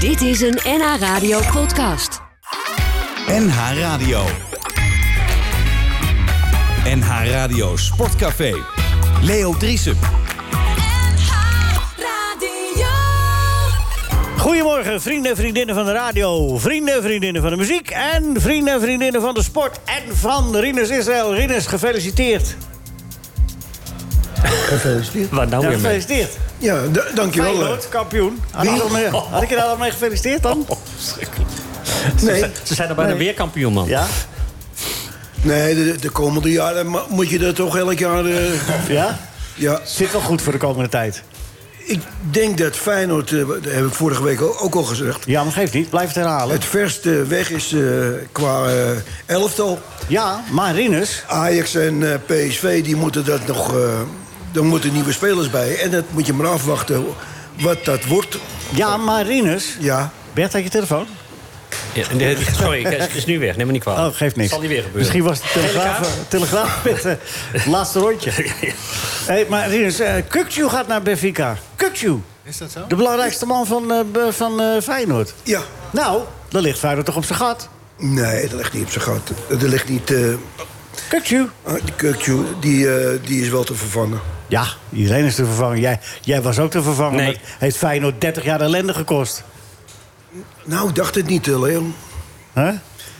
Dit is een NH Radio podcast. NH Radio. NH Radio Sportcafé. Leo Driesen. Goedemorgen, vrienden en vriendinnen van de radio, vrienden en vriendinnen van de muziek... en vrienden en vriendinnen van de sport en van Rinus Israël. Rinus, gefeliciteerd. Gefeliciteerd. Wat nou weer Gefeliciteerd. Ja, d- dankjewel. eh. Feyenoord, kampioen. Had ik, Wie? dat mee- had ik je daar al mee gefeliciteerd dan? Oh, Nee, Ze zijn er bijna weer kampioen, man. Ja? nee de, de komende jaren mo- moet je dat toch elk jaar... eh, Ja? ja, Zit wel goed voor de komende tijd. ik denk dat Feyenoord, eh, dat heb ik vorige week al- ook al gezegd... Ja, maar geeft niet. Blijf het herhalen. het verste weg is eh, qua eh, elftal. Ja, maar Rinus... Ajax en eh, PSV, die moeten dat nog... eh daar moeten nieuwe spelers bij. En dat moet je maar afwachten wat dat wordt. Ja, maar Rinus... Ja, Bert, had je telefoon? Ja, en de- sorry, het is nu weg. Neem me niet kwalijk. Oh, geeft niks. Zal niet weer gebeuren. Misschien was de Telegraaf, eh, telegraaf met eh, het laatste rondje. hey, maar Rinus, eh Kukçu gaat naar Benfica. Kukçu. Is dat zo? De belangrijkste man van, eh, be- van eh, Feyenoord. ja. Nou, dan ligt Feyenoord toch op zijn gat. Nee, dat ligt niet op zijn gat. Dat ligt niet... eh Ah, Kukçu. die Kukçu, die, eh, die is wel te vervangen. Ja, iedereen is te vervangen. Jij, jij was ook te vervangen. Nee. Dat heeft Feyenoord 30 jaar ellende gekost. Nou, ik dacht het niet, eh, Leon. Huh?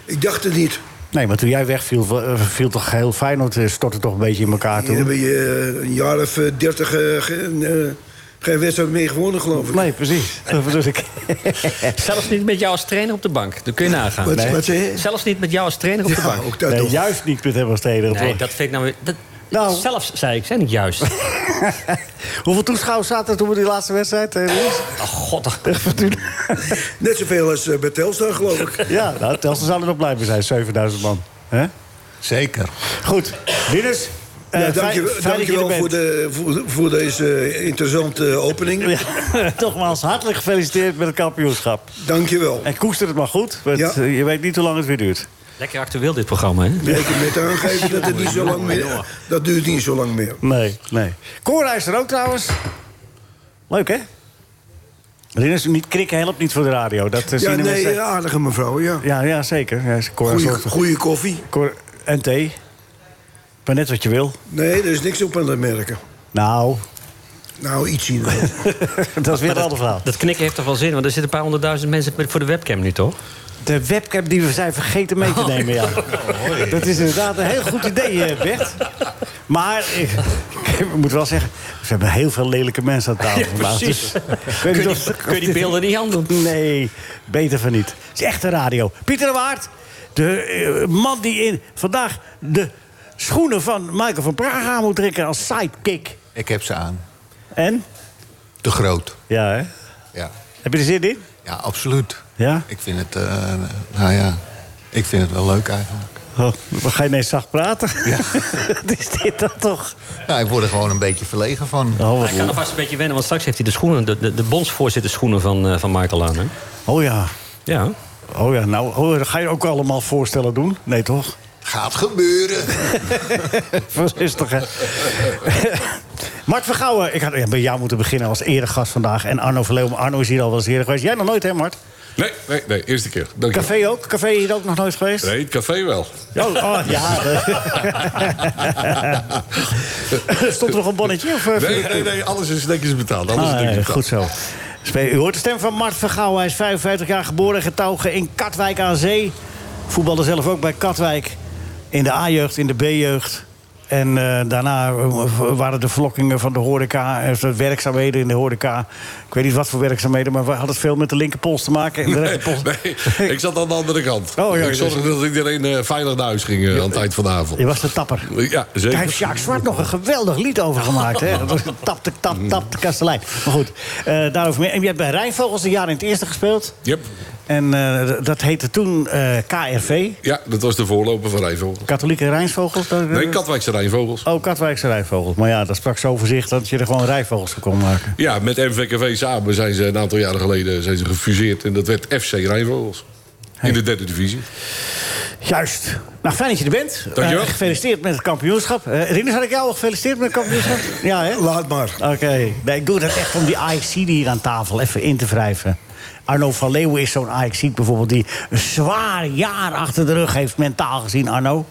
Ik dacht het niet. Nee, maar toen jij wegviel, eh, viel toch heel Feyenoord eh, stortte toch een beetje in elkaar Hier toen. hebben je eh, een jaar of dertig eh, geen wedstrijd meer gewonnen, geloof ik. Nee, precies. Dat bedoel ik. Eh, Zelfs niet met jou als trainer op de bank. Dat kun je nagaan. Wat, wat zei je? Zelfs niet met jou als trainer op de Ja, bank. ook dat nee, toch. juist niet met hem als trainer. Nee, toch? dat vind ik nou weer... Dat, Nou. Zelfs, zei ik, zijn niet juist. Hoeveel toeschouwers zaten er toen we die laatste wedstrijd eh, Louis? Oh, god. Net zoveel als eh, bij Telstar, geloof ik. Ja, nou, Telstra zou er nog blij mee zijn, 7000 man. hè? Zeker. Goed, Rinus. eh, fijn- ja, dankjewel fijn dat je er dankjewel bent. voor, de, voor, voor deze eh, interessante opening. Ja, nogmaals, hartelijk gefeliciteerd met het kampioenschap. Dankjewel. En koester het maar goed, want Ja. eh, je weet niet hoe lang het weer duurt. Lekker actueel, dit programma, hè? Ik heb net aangegeven dat het niet zo lang meer... Dat duurt niet zo lang meer. Nee, nee. Cora is er ook trouwens. Leuk, hè? Rinus, niet krikken helpt niet voor de radio. Dat eh, Ja, zien de nee, mensen. een aardige mevrouw, ja. Ja, ja, zeker. Ja, Cora Goeie, zorgt- goeie koffie. Cor- en thee. Maar net wat je wil. Nee, er is niks op aan te merken. Nou, Nou, iets hier. wel. dat is weer een ander verhaal. Dat knikken heeft toch wel zin, want er zitten een paar honderdduizend mensen met- voor de webcam nu, toch? Oh. De webcam die we zijn vergeten mee te nemen, ja. Dat is inderdaad een heel goed idee, eh, Bert. Maar ik, ik moet wel zeggen, we hebben heel veel lelijke mensen aan tafel vandaag. precies. Dus, ik weet Kun je, niet die, of- kun je die beelden niet handelen? Nee, beter van niet. Het is echt een radio. Pieter de Waard, de eh, man die in vandaag de schoenen van Michael van Praag aan moet trekken als sidekick. Ik heb ze aan. En? Te groot. Ja, hè? Ja, Heb je er zin in? ja absoluut. Ja? Ik vind het, eh, nou ja, ik vind het wel leuk eigenlijk. Oh, we gaan ineens zacht praten. Wat is dit dan toch? Nou, ik word er gewoon een beetje verlegen van. Oh, wat Hij kan alvast een beetje wennen, want straks heeft hij de schoenen... de, de, de bondsvoorzitterschoenen van, eh, van Michael aan, hè? Oh ja. Ja. Oh ja, nou, oh, dan ga je ook allemaal voorstellen doen? Nee, toch? Gaat gebeuren. Voorzichtig, hè? Mart Vergouwen, ik had ja, bij jou moeten beginnen als eregast vandaag. En Arno Verleeuw, maar Arno is hier al wel eens eerder geweest. Jij nog nooit, hè, Mart? Nee, nee, nee, eerste keer. Dank je wel. Café ook? Café hier ook nog nooit geweest? Nee, het café wel. Oh, oh, ja. Stond er nog een bonnetje? Of, eh, viel Nee, het nee, in? nee, alles is netjes betaald. Alles Ah, is netjes nee, betaald. goed zo. Spe- U hoort de stem van Mart Vergouwen. Hij is 55 jaar geboren en getogen in Katwijk aan Zee. Voetbalde zelf ook bij Katwijk. In de A-jeugd, in de B-jeugd. En eh, daarna eh, waren de verlokkingen van de horeca. eh, de werkzaamheden in de horeca. Ik weet niet wat voor werkzaamheden, maar we hadden het veel met de linkerpols te maken. En de rechterpols. Nee, ik zat aan de andere kant. Oh, ja, ik zorgde dus- dat iedereen eh, veilig naar huis ging eh, aan het eind van de avond. Je was de tapper. Ja, Daar heeft zeker. Sjaak Zwart nog een geweldig lied over gemaakt. Hè? Dat was tap, tap, tap, tap, de kastelein. Maar goed, eh, daarover meer. En je hebt bij Rijnvogels een jaar in het eerste gespeeld. Yep. En eh, d- dat heette toen eh, KRV. Ja, dat was de voorloper van Rijnvogels. Katholieke Rijnvogels. dat- Nee, Katwijkse Rijnvogels. Eh. Oh, Katwijkse Rijnvogels. Maar ja, dat sprak zo voor zich dat je er gewoon Rijnvogels van kon maken. Ja, met MVKV samen zijn ze een aantal jaren geleden zijn ze gefuseerd. En dat werd FC Rijnvogels. In de derde divisie. Juist. Nou, fijn dat je er bent. Dankjewel. Eh, gefeliciteerd met het kampioenschap. Eh Rinus, had ik jou al gefeliciteerd met het kampioenschap? Ja, hè? Laat maar. Oké. Nee, ik doe dat echt om die IC die hier aan tafel even in te wrijven. Arno van Leeuwen is zo'n Ajaxiet bijvoorbeeld... die een zwaar jaar achter de rug heeft mentaal gezien, Arno.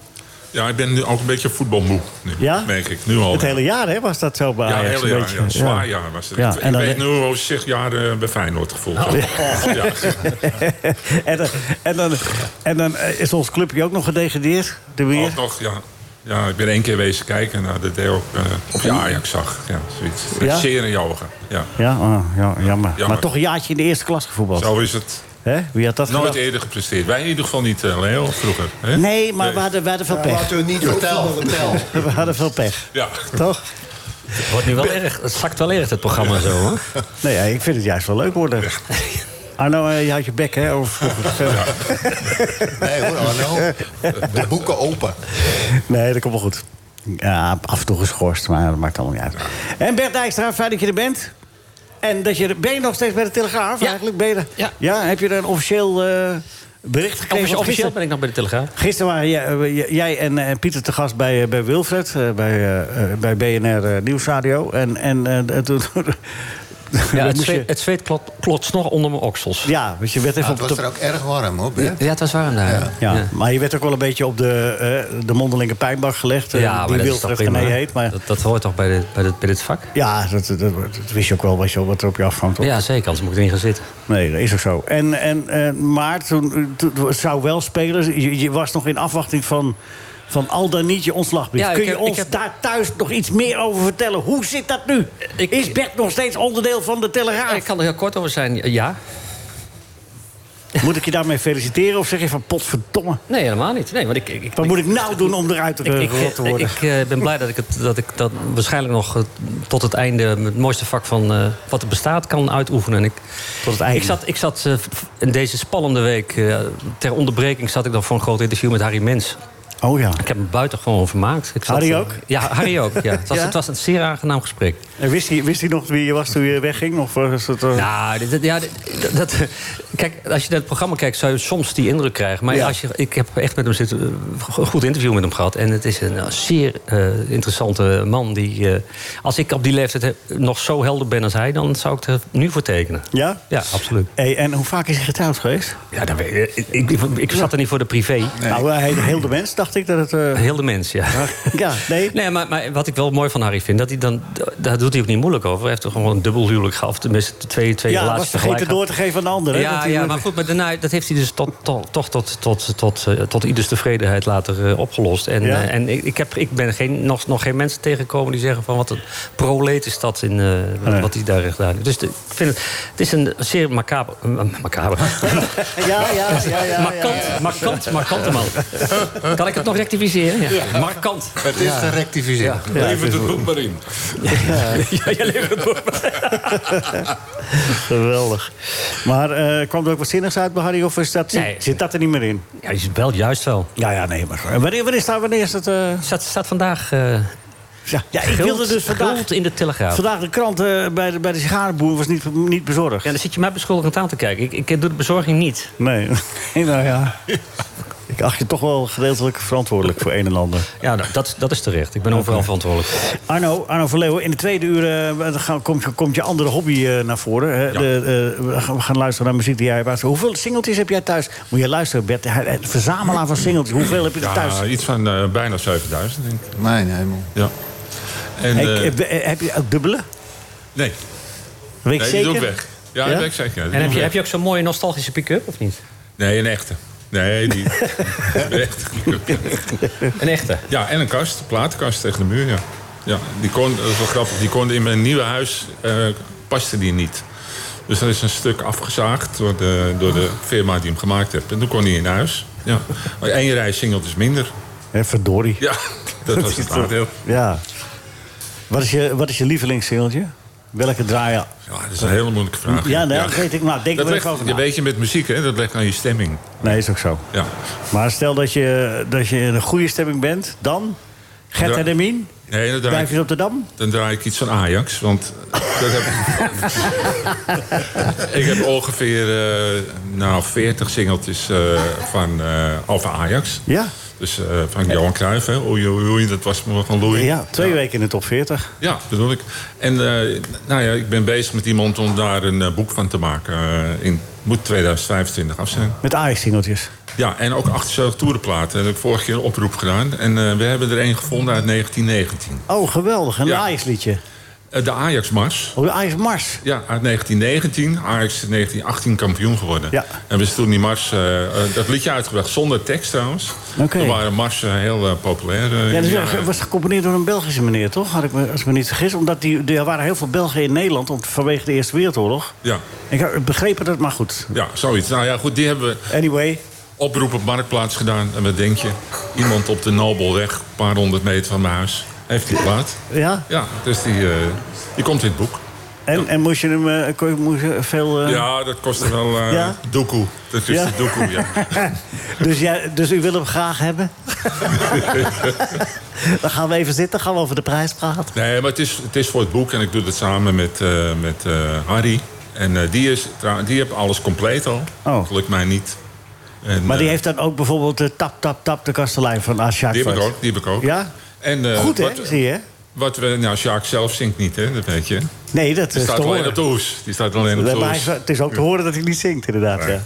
Ja, ik ben nu ook een beetje voetbalmoe. Nu, Ja? Merk ik nu al. Het hele jaar hè, was dat zo bij ja, Ajax. hele een jaar, beetje. ja, een zwaar Ja. jaar was het. Ja, ik en dan- weet nu hoe zes jaar eh, bij Feyenoord gevoeld. Ja. en, dan, en, dan, en dan eh, is ons clubje ook nog gedegradeerd, de weer. Ook nog, ja. Ja, ik ben één keer wezen kijken naar de deel eh of je Ajax zag. Ja, zoiets. Ja? Zeer in je ogen. Ja. Ja, ah, ja, jammer. Jammer. Maar toch een jaartje in de eerste klas gevoetbald. Zo is het. hè? Wie had dat Nooit gedacht? eerder gepresteerd. Wij in ieder geval niet, eh, Leo, vroeger. Hè? Nee, maar we hadden, we hadden veel pech. Laten we niet vertellen. We hadden veel pech. Ja. Toch? Het wordt nu wel erg. Het zakt wel erg, het programma zo, hoor. Nee, ja, ik vind het juist wel leuk worden. Arno, eh, je houdt je bek, hè? Over vroeger. Nee hoor, Arno. De boeken open. Nee, dat komt wel goed. Ja, af en toe geschorst, maar dat maakt allemaal niet uit. En Bert Dijkstra, fijn dat je er bent. En dat je, er- ben je nog steeds bij de Telegraaf Ja. eigenlijk? Ben je er- Ja. heb je daar een officieel eh, bericht gekregen? Officie- Want Officieel gisteren- ben ik nog bij de Telegraaf. Gisteren waren jij, eh, j- jij en, eh, en Pieter te gast bij, eh, bij Wilfred, eh, bij, eh, eh, bij BNR eh, Nieuwsradio. En, en eh, toen... Ja, het, moest je- zweet, het zweet klot- klotst nog onder mijn oksels. Ja, ja, want je werd even Het op was de er ook erg warm hoor, Bert. het was warm daar. Ja, maar je werd ook wel een beetje op de, eh, de mondelinge pijnbar gelegd. eh, Ja, maar die dat is toch Wilfred prima. Gené heet. Maar Dat, dat hoort toch bij, de, bij, dit- bij dit vak? ja, dat, dat, dat wist je ook wel wat, je, wat er op je afkwam. toch? Ja, zeker. Anders moet ik erin gaan zitten. Nee, dat is ook zo. En, en, eh, maar toen, toen het zou wel spelen. Dus Je, je was nog in afwachting van, van al dan niet je ontslagbrief. Ja, ik Kun je heb- ik ons heb- daar thuis nog iets meer over vertellen? Hoe zit dat nu? Ik- is Bert nog steeds onderdeel van de Telegraaf? Ik kan er heel kort over zijn. Ja. Moet ik je daarmee feliciteren of zeg je van potverdomme? Nee, helemaal niet. Nee, want ik, ik, ik, Wat moet ik nou doen om eruit te, Ik, gerot ik, te worden? ik, eh, ben blij dat ik, het, dat ik dat waarschijnlijk nog eh, tot het einde... het mooiste vak van eh, wat er bestaat kan uitoefenen. En ik, Tot het einde. Ik zat, ik zat eh, v- in deze spannende week... eh, ter onderbreking zat ik dan voor een groot interview met Harry Mens. oh ja. Ik heb me buitengewoon vermaakt. Ik zat, Harry eh, ook? Ja, Harry ook. Ja. Het, was, Ja? het was een zeer aangenaam gesprek. En wist hij, wist hij nog wie je was toen je wegging? Of was het, eh, Nou, dit- dit- ja, dit- dat, kijk, als je naar het programma kijkt, zou je soms die indruk krijgen. Maar Ja. als je, ik heb echt met hem zitten, eh, een goed interview met hem gehad. En het is een eh, zeer eh, interessante man. Die, eh, als ik op die leeftijd eh, nog zo helder ben als hij, dan zou ik er nu voor tekenen. Ja? Ja, absoluut. Hey, en hoe vaak is hij getrouwd geweest? Ja, dan weet ik, ik, ik, ik zat er niet voor de privé. Nou, hij- heel de mens dacht ik dat het... eh, Heel de mens, ja. ja, nee. Nee, maar, maar wat ik wel mooi van Harry vind, dat hij dan, daar doet hij ook niet moeilijk over. Hij heeft toch gewoon een dubbel huwelijk gehad, tenminste twee, twee ja, relaties was vergeten tegelijk gehad. door te geven aan de ander. hè, dat Ja, hij- ja, maar goed, maar daarna, dat heeft hij dus tot, tot, toch tot, tot, tot, eh, tot ieders tevredenheid later eh, opgelost. En, Ja. eh, en ik, ik, heb, ik ben geen, nog, nog geen mensen tegengekomen die zeggen van wat een proleet is dat in eh, wat- Nee. wat hij daar heeft gedaan. heeft. Dus de- ik vind het, het is een zeer macabre, eh, macabre. Ja, ja, ja. ja, ja, markant, markant, markante man. kan ik het nog rectificeren? Ja. Markant. Het is te rectificeren. Levert het boek maar in. Ja, je levert het door. Geweldig. Maar eh, kwam er ook wat zinnigs uit bij Harry? Of is dat, Nee. zit dat er niet meer in? Ja, je belt juist wel. Ja, ja, nee. Maar, en wanneer, wanneer, staat, wanneer is dat... eh, Staat, staat vandaag. eh ja, ja, ik guld- wilde dus vandaag... guld in de Telegraaf. Vandaag de krant eh, bij, de, bij de sigarenboer was niet, niet bezorgd. Ja, dan zit je mij beschuldigend aan te kijken. Ik, ik doe de bezorging niet. Nee. nou ja. Ik acht je toch wel gedeeltelijk verantwoordelijk voor een en ander. Ja, nou, dat, dat is terecht. Ik ben overal verantwoordelijk voor. Arno, Arno van Leeuwen, in de tweede uur eh, dan gaan- komt, je- komt je andere hobby eh, naar voren. hè. De, eh, we gaan- we gaan luisteren naar muziek die jij hebt. Hoeveel singeltjes heb jij thuis? Moet je luisteren, Bert. hij- hij- Verzamelaar van singeltjes. Hoeveel heb je er Ja, thuis? iets van eh, bijna 7000, denk ik. Mijn hemel. Ja. En, Hey, eh, heb, eh, heb je ook dubbele? nee, Weet nee ik die zeker? doe ik weg. Ja, Ja? dat weet ik zeker. Die En doe heb ik je, weg. heb je ook zo'n mooie nostalgische pick-up, of niet? Nee, een echte. Nee, die. een echte. Een echte. Ja, en een kast, een platenkast tegen de muur, ja. ja die kon, dat is wel grappig, die kon in mijn nieuwe huis, eh, paste die niet. Dus er is een stuk afgezaagd door de, door de firma die hem gemaakt heeft. En toen kon hij in huis. Ja. Oh, Maar één rij singeltjes minder. Hé, verdorie. Ja, dat was het aandeel. Ja. Wat is je, wat is je lievelingssingeltje? Welke draai je? Ja, dat is een hele moeilijke vraag. Ja, nee, dat weet ik. Nou, denk dat er legt- even over je na. weet je met muziek, hè, dat legt aan je stemming. Nee, is ook zo. Ja. Maar stel dat je, dat je in een goede stemming bent, dan... Gert Ja. en Emien, Nee, dan draai, blijf ik, je op de Dam? dan draai ik iets van Ajax, want dat heb ik... ik heb ongeveer eh nou, 40 singeltjes eh, van eh over Ajax. Ja. Dus eh, van Johan Cruijff, hè, oei, oei, oei, dat was me van loei. Ja, twee weken in de top 40. Ja, bedoel ik. En eh, nou ja, ik ben bezig met iemand om daar een eh, boek van te maken. eh, in, moet 2025 af zijn. Met Ajax-singeltjes. Ja, en ook 78 toerenplaten. Daar heb ik vorige keer een oproep gedaan. En eh, we hebben er een gevonden uit 1919. Oh, geweldig. Een Ja. Ajax-liedje. Eh, de Ajax-mars. Oh, de Ajax-mars. Ja, uit 1919. Ajax is in 1918 kampioen geworden. Ja. En we is toen die mars, eh, eh, dat liedje uitgebracht zonder tekst trouwens. Oké. Toen waren marsen heel eh, populair. eh, in die Ja, dat jaren. was- was gecomponeerd door een Belgische meneer, toch? Had ik me, als ik me niet vergis. Omdat die, er waren heel veel Belgen in Nederland om- vanwege de Eerste Wereldoorlog. ja, Ik had begrepen dat, maar goed. ja, zoiets. Nou ja, goed, die hebben we Anyway, oproep op Marktplaats gedaan. En wat denk je? Iemand op de Nobelweg, een paar honderd meter van mijn huis, heeft die plaat. ja. Ja, dus die, eh, die komt in het boek. En, en moest je hem eh, kon je- moest je veel... eh, Ja, dat kostte wel eh Ja? doekoe. Dat is Ja. de doekoe, ja. Dus, jij, dus u wil hem graag hebben? Dan gaan we even zitten, gaan we over de prijs praten. Nee, maar het is, het is voor het boek en ik doe dat samen met, eh, met eh, Harry. En eh, die, is, trouw- die heeft alles compleet al. Oh. Gelukt mij niet. En, Maar die eh, heeft dan ook bijvoorbeeld de tap, tap, tap de kastelein van Asjak. die heb ik ook. Die heb ik ook. Ja? En, eh, Goed, hè? Wat, Zie je? wat we, nou, Sjaak zelf zingt niet, hè? Dat weet je. Die Nee, dat is staat te alleen horen. op de hoes. Die staat alleen op de Maar hij hoes. is- het is ook te horen dat hij niet zingt, inderdaad. Nee. Ja.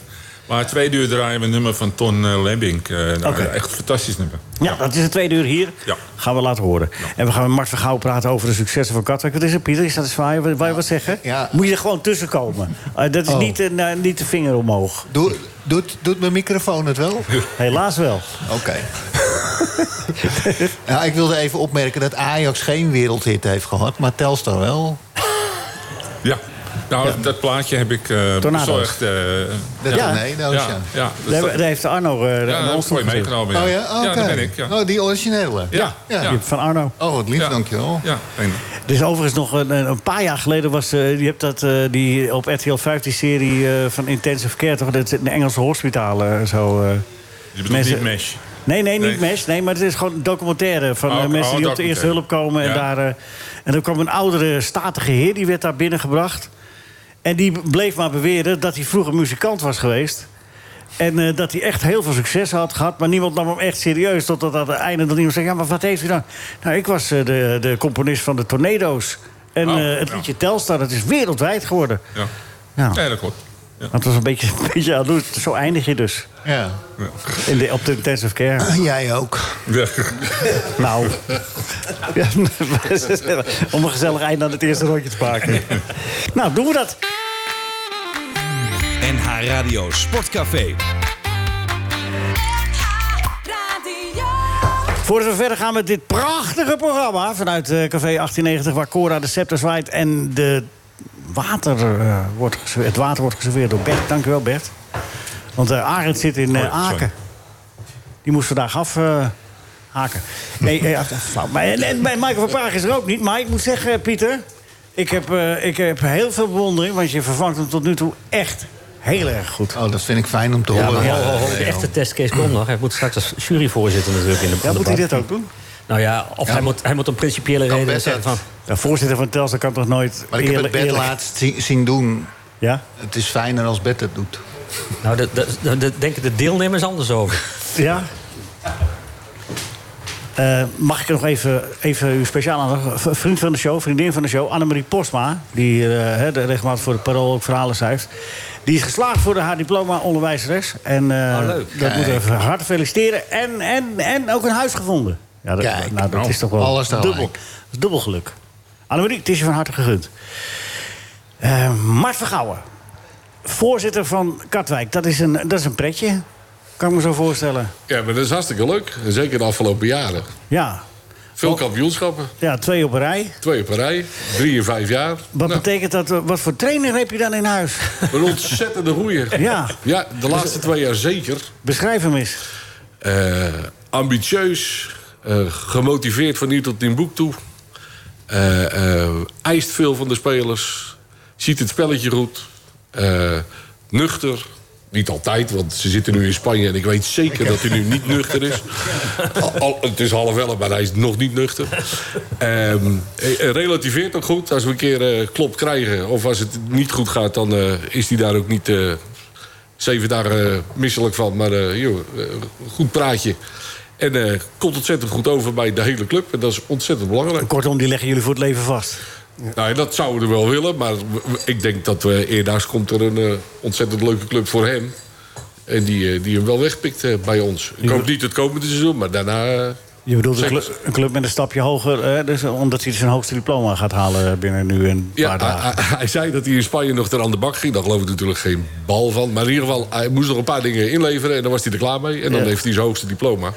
Maar twee uur draaien we een nummer van Ton eh, Lembink. Eh, nou, Oké. Echt een fantastisch nummer. Ja, dat is het tweede uur hier. Ja. Gaan we laten horen. En we gaan met Mart van Gouw praten over de successen van Katwijk. Wat is er, Pieter? Is dat een zwaaier? Wil wil je wat zeggen? Ja. Moet je er gewoon tussen komen. Eh, dat is Oh. niet, een, eh, niet de vinger omhoog. Doe, doet, doet mijn microfoon het wel? Helaas wel. Oké. ja, ik wilde even opmerken dat Ajax geen wereldhit heeft gehad, maar Telstar wel. Ja. Nou, dat plaatje heb ik eh Tornado's. bezorgd. eh, Dat Ja. nee, dat is ja, ja. ja, dat Daar, staat- daar heeft Arno eh ja, een dat heb ik ons voor je nog gezien. meegenomen. Oh ja? Oh, ja, oké. daar ben ik. Ja. Oh, die originele. Ja, ja. ja. Die Van Arno. Oh, wat lief, Ja. dankjewel. Ja, en- Er is overigens nog een, een paar jaar geleden was. eh, je hebt dat eh, die op RTL 5 die serie eh, van Intensive Care, toch? Dat is in Engelse hospitalen en zo. eh. je bedoelt Mensen- niet mesh. Nee, nee, niet Nee. mes. Nee, maar het is gewoon een documentaire van Oh, eh, oh, mensen die op de documentaire. eerste hulp komen. En, Ja. daar, eh, en er kwam een oudere statige heer, die werd daar binnengebracht. En die bleef maar beweren dat hij vroeger muzikant was geweest. En eh, dat hij echt heel veel succes had gehad. Maar niemand nam hem echt serieus. Totdat aan het einde dat iemand zei, ja, maar wat heeft u dan? Nou, ik was eh, de, de componist van de Tornado's. En Oh, eh, het ja. liedje Telstar, dat is wereldwijd geworden. Ja. Nou, ja, dat klopt. Ja. dat was een beetje, een beetje jaloers. Zo eindig je dus Ja. in de, op de intensive care. Jij ook. Ja. Nou. Ja, om een gezellig eind aan het eerste rondje te maken. Nou, doen we dat. NH Radio Sportcafé. Voordat we verder gaan met dit prachtige programma... vanuit eh, Café 1890, waar Cora de scepter zwaait... en de water, eh, wordt geserveerd- het water wordt geserveerd door Bert. Dankjewel, Bert. Want eh Arend zit in eh, Oh, sorry. Aken. Die moest vandaag af... eh, Haken. Nee, eh, ach, dat is flauw. Maar, en, en bij Michael van Praag is er ook niet. Maar ik moet zeggen, Pieter... Ik heb, eh, ik heb heel veel bewondering, want je vervangt hem tot nu toe echt heel erg goed. Oh, dat vind ik fijn om te Ja, horen. maar ho, ho, ho, de echte testcase komt nog. Hij moet straks als juryvoorzitter natuurlijk in de Ja, moet hij debat. dit ook doen? Nou ja, of Hij, moet, hij moet om principiële Kan redenen best zeggen van... dat. De voorzitter van Telstra kan toch nooit Maar ik heb het eerlijk- bed eerlijk- laatst zi- zien doen. Ja? Het is fijner als bed het doet. Nou, daar de, de, denken de deelnemers anders over. Ja? Eh, mag ik nog even, even uw speciaal aandacht... v- Vriend van de show, vriendin van de show, Annemarie Postma... die eh, hè, de regelmatig voor de Parool ook verhalen schrijft... die is geslaagd voor de- haar diploma onderwijzeres. En eh, Oh, leuk. dat moeten we even hartelijk feliciteren. En, en, en ook een huis gevonden. Ja, dat, Kijk, nou, dat nou, is toch wel alles tegelijk. dubbel, dat is dubbel geluk. Annemarie, het is je van harte gegund. Eh Mart Vergouwen, voorzitter van Katwijk. Dat is, een, dat is een pretje, kan ik me zo voorstellen. Ja, maar dat is hartstikke leuk. En Zeker de afgelopen jaren. Ja, Veel kampioenschappen. ja twee op een rij. Twee op een rij. Drie in vijf jaar. Wat Nou, betekent dat? eh, Wat voor trainer heb je dan in huis? een ontzettende roeier. Ja. ja, de laatste twee jaar zeker. Beschrijf hem eens. Eh, ambitieus, eh, gemotiveerd van hier tot in boek toe. Eh, eh, eist veel van de spelers. Ziet het spelletje goed. Eh, nuchter. Niet altijd, want ze zitten nu in Spanje en ik weet zeker dat hij nu niet nuchter is. Al, al- het is half elf, maar hij is nog niet nuchter. Ehm, eh, eh, relativeert ook goed. Als we een keer eh, klop krijgen of als het niet goed gaat, dan eh, is hij daar ook niet eh, zeven dagen eh, misselijk van. Maar eh, joh, eh, goed praatje. En eh, komt ontzettend goed over bij de hele club. En dat is ontzettend belangrijk. Kortom, die leggen jullie voor het leven vast. Nou, ja, dat zouden we wel willen. Maar w- ik denk dat we eerdaags komt er een eh, ontzettend leuke club voor hem. En die, eh, die hem wel wegpikt eh, bij ons. Ik hoop niet het komende seizoen, maar daarna... eh, Je bedoelt een, Zeker. clu- een club met een stapje hoger, eh, dus, omdat hij zijn hoogste diploma gaat halen binnen nu een Ja, paar dagen. hij, hij- hij zei dat hij in Spanje nog ter aan de bak ging. Daar geloof ik natuurlijk geen bal van. Maar in ieder geval, hij moest nog een paar dingen inleveren. En dan was hij er klaar mee. En dan Ja. heeft hij zijn hoogste diploma.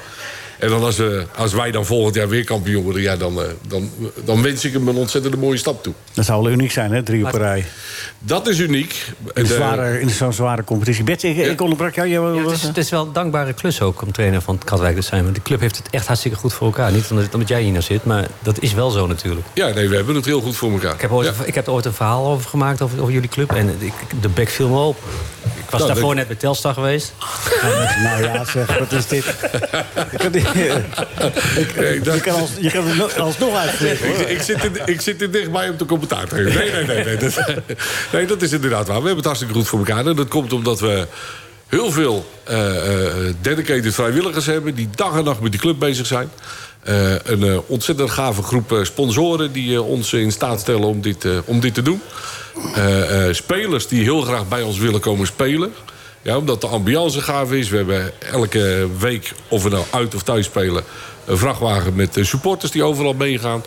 En dan als, eh, als wij dan volgend jaar weer kampioen worden... Ja, dan, eh, dan, dan wens ik hem een ontzettend mooie stap toe. Dat zou wel uniek zijn, hè? Drie op een rij. Dat is uniek. In, En, eh, zware- in zo'n zware competitie. Bert, ik, ik onderbrak jou. Jij wou- Ja, het, is, was- het is wel een dankbare klus ook om trainer van het Katwijk te zijn. Want de club heeft het echt hartstikke goed voor elkaar. Niet omdat, omdat jij hier nou zit, maar dat is wel zo natuurlijk. Ja, nee, we hebben het heel goed voor elkaar. Ik heb, ooit, Ja. ik heb er ooit een verhaal over gemaakt over, over jullie club. En ik, de bek viel me op. Ik was Nou, daarvoor dat- net bij Telstar geweest. nou ja, zeg, wat is dit? Ik kan die- eh, Nee, dat- eh, je kan als- je kan het nog- alsnog uitspreken. hoor. Ik, ik, zit er, ik zit er dichtbij om te commentaar te geven. Nee, nee, nee. Nee dat, nee, dat is inderdaad waar. We hebben het hartstikke goed voor elkaar. En dat komt omdat we heel veel eh, eh, dedicated vrijwilligers hebben... die dag en nacht met die club bezig zijn. Eh, een eh, ontzettend gave groep eh, sponsoren die eh, ons in staat stellen om dit, eh, om dit te doen. Eh, eh, spelers die heel graag bij ons willen komen spelen. Ja, omdat de ambiance gaaf is. We hebben elke week, of we nou uit of thuis spelen... een vrachtwagen met eh, supporters die overal meegaan.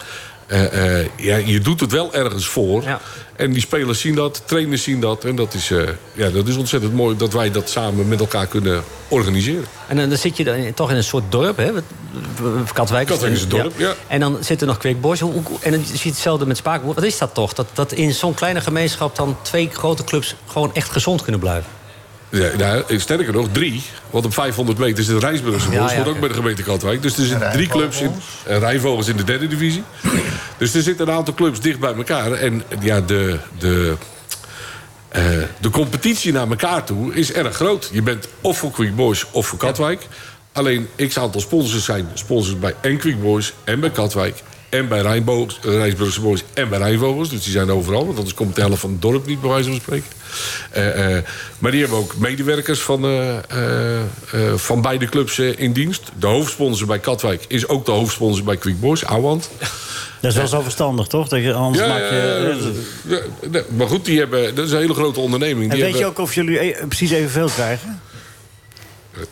Eh, eh, ja, je doet het wel ergens voor. Ja. En die spelers zien dat, trainers zien dat. En dat is, eh, ja, dat is ontzettend mooi dat wij dat samen met elkaar kunnen organiseren. En eh, dan, dan zit je dan in- toch in een soort dorp, hè? Wat- Katwijk Katwijk is een dorp, ja. En dan zitten nog Quickboys. Hoe- hoe- En dan zie je hetzelfde met Spakenburg. Wat is dat toch? Dat, dat in zo'n kleine gemeenschap dan twee grote clubs gewoon echt gezond kunnen blijven. Ja, nou, sterker nog, drie. Want op 500 meter is het Rijsburgse Bos. Ja, ja, wordt ook oké. bij de gemeente Katwijk. Dus er zitten drie Rijnvogels. clubs in. en Rijnvogels in de derde divisie. dus er zitten een aantal clubs dicht bij elkaar. En ja, de, de, eh, de competitie naar elkaar toe is erg groot. Je bent of voor Quick Boys of voor Katwijk. Alleen x aantal sponsors zijn sponsors bij en Quick Boys en bij Katwijk. En bij Rijnbo- eh, Rijnsburgse Boys en bij Rijnvogels. Dus die zijn overal. Want anders komt de helft van het dorp niet bij wijze van spreken. Eh, eh, maar die hebben ook medewerkers van, eh, eh, eh, van beide clubs eh, in dienst. De hoofdsponsor bij Katwijk is ook de hoofdsponsor bij Quick Boys. Eh, Awand. Dat is wel zo verstandig, toch? Dat je, anders maak je... eh, ja, ja, maar goed, die hebben, dat is een hele grote onderneming. en Die weet je hebben- ook of jullie e- precies evenveel krijgen?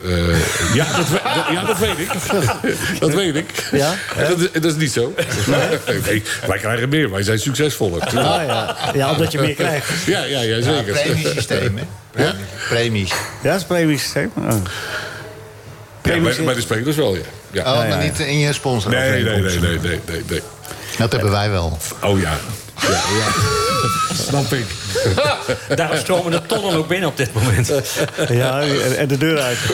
Eh, ja, dat, we- dat- ja, dat weet ik. dat weet ik. Ja? En Dat, is- dat is niet zo. Nee, wij krijgen meer. Wij zijn succesvoller. Ah, ja. ja, omdat je meer krijgt. Ja, ja, ja, zeker. Premiesysteem, hè? Premies. Premies. Ja, dat is premiesysteem. Oh. Ja, bij, Premies- bij de spelers wel, ja. Oh, ja. maar ja, ja. niet in je sponsor. Nee, nee, nee, nee, nee, nee, nee. Dat hebben wij wel. Oh ja. ja, ja. Snap ik. Daarom stromen de tonnen ook binnen op dit moment. Ja, en- en de deur uit.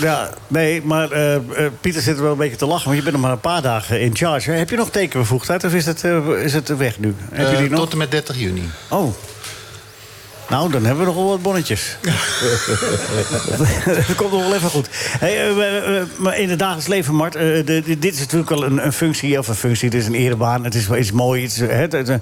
Ja, nee, maar eh, eh, Pieter zit er wel een beetje te lachen, want je bent nog maar een paar dagen in charge. hè? Heb je nog tekenbevoegdheid of is het, eh, is het weg nu? Heb je Eh, die nog? tot en met 30 juni. Oh. Nou, dan hebben we nog wel wat bonnetjes. dat komt nog wel even goed. Hey, eh, eh, eh, maar in het dagelijks leven, Mart, eh, de- de- dit is natuurlijk wel een, een functie, of een functie, het is een erebaan, het is wel iets moois. iets, eh, hè, het- eh,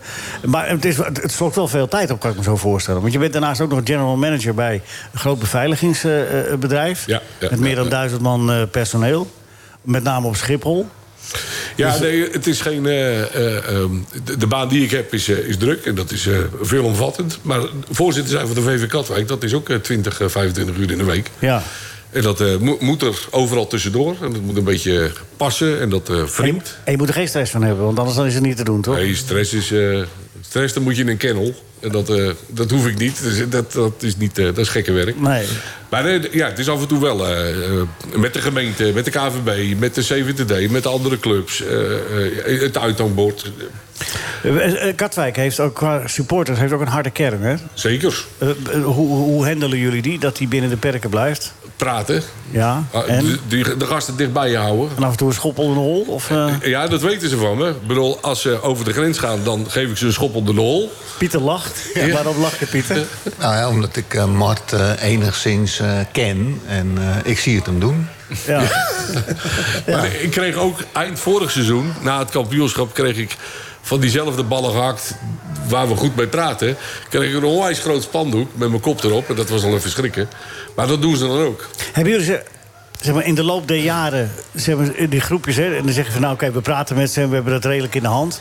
maar het, is, het, het slokt wel veel tijd op, kan ik me zo voorstellen. Want je bent daarnaast ook nog general manager bij een groot beveiligingsbedrijf. Ja, ja, met meer dan ja, ja. duizend man eh, personeel, met name op Schiphol. Dus- Ja, nee, het is geen. eh, eh, ehm, de, de baan die ik heb is, eh, is druk en dat is eh, veelomvattend. Maar voorzitter zijn van de VV Katwijk, dat is ook eh, 20, eh, 25 uur in de week. Ja. En dat eh, moet- moet er overal tussendoor. En dat moet een beetje passen en dat eh En, wringt. en je moet er geen stress van hebben, want anders dan is het niet te doen, toch? Nee, stress is. eh, stress, dan moet je in een kennel. En dat, eh, dat hoef ik niet. Dus dat, dat is niet. eh, dat is gekke werk. Nee. Maar eh, ja, het is af en toe wel. eh, eh, met de gemeente, met de KVB, met de CVTD, met de andere clubs. eh, eh, het uithangbord. Eh, eh, Katwijk heeft ook qua supporters heeft ook een harde kern. Hè? Zeker. Eh, eh, hoe, hoe handelen jullie die? Dat die binnen de perken blijft? Praten. Ja. Ah, en, de- die- de gasten dichtbij je houden. en af en toe een schoppel in de hol? Of, eh, Ja, dat weten ze van me. Ik bedoel, als ze over de grens gaan, dan geef ik ze een schop op de lol. Pieter lacht. Waarom lacht je, Pieter? Nou ja, omdat ik eh, Mart eh, enigszins eh, ken en eh, ik zie het hem doen. Ja. Maar ik kreeg ook eind vorig seizoen, na het kampioenschap, kreeg ik van diezelfde ballen gehakt waar we goed mee praten. Kreeg ik een onwijs groot spandoek met mijn kop erop. En dat was al even schrikken. Maar dat doen ze dan ook. Hebben jullie ze zeg maar, in de loop der jaren, zeg maar, in die groepjes, hè, en dan zeggen ze van nou oké, we praten met ze en we hebben dat redelijk in de hand.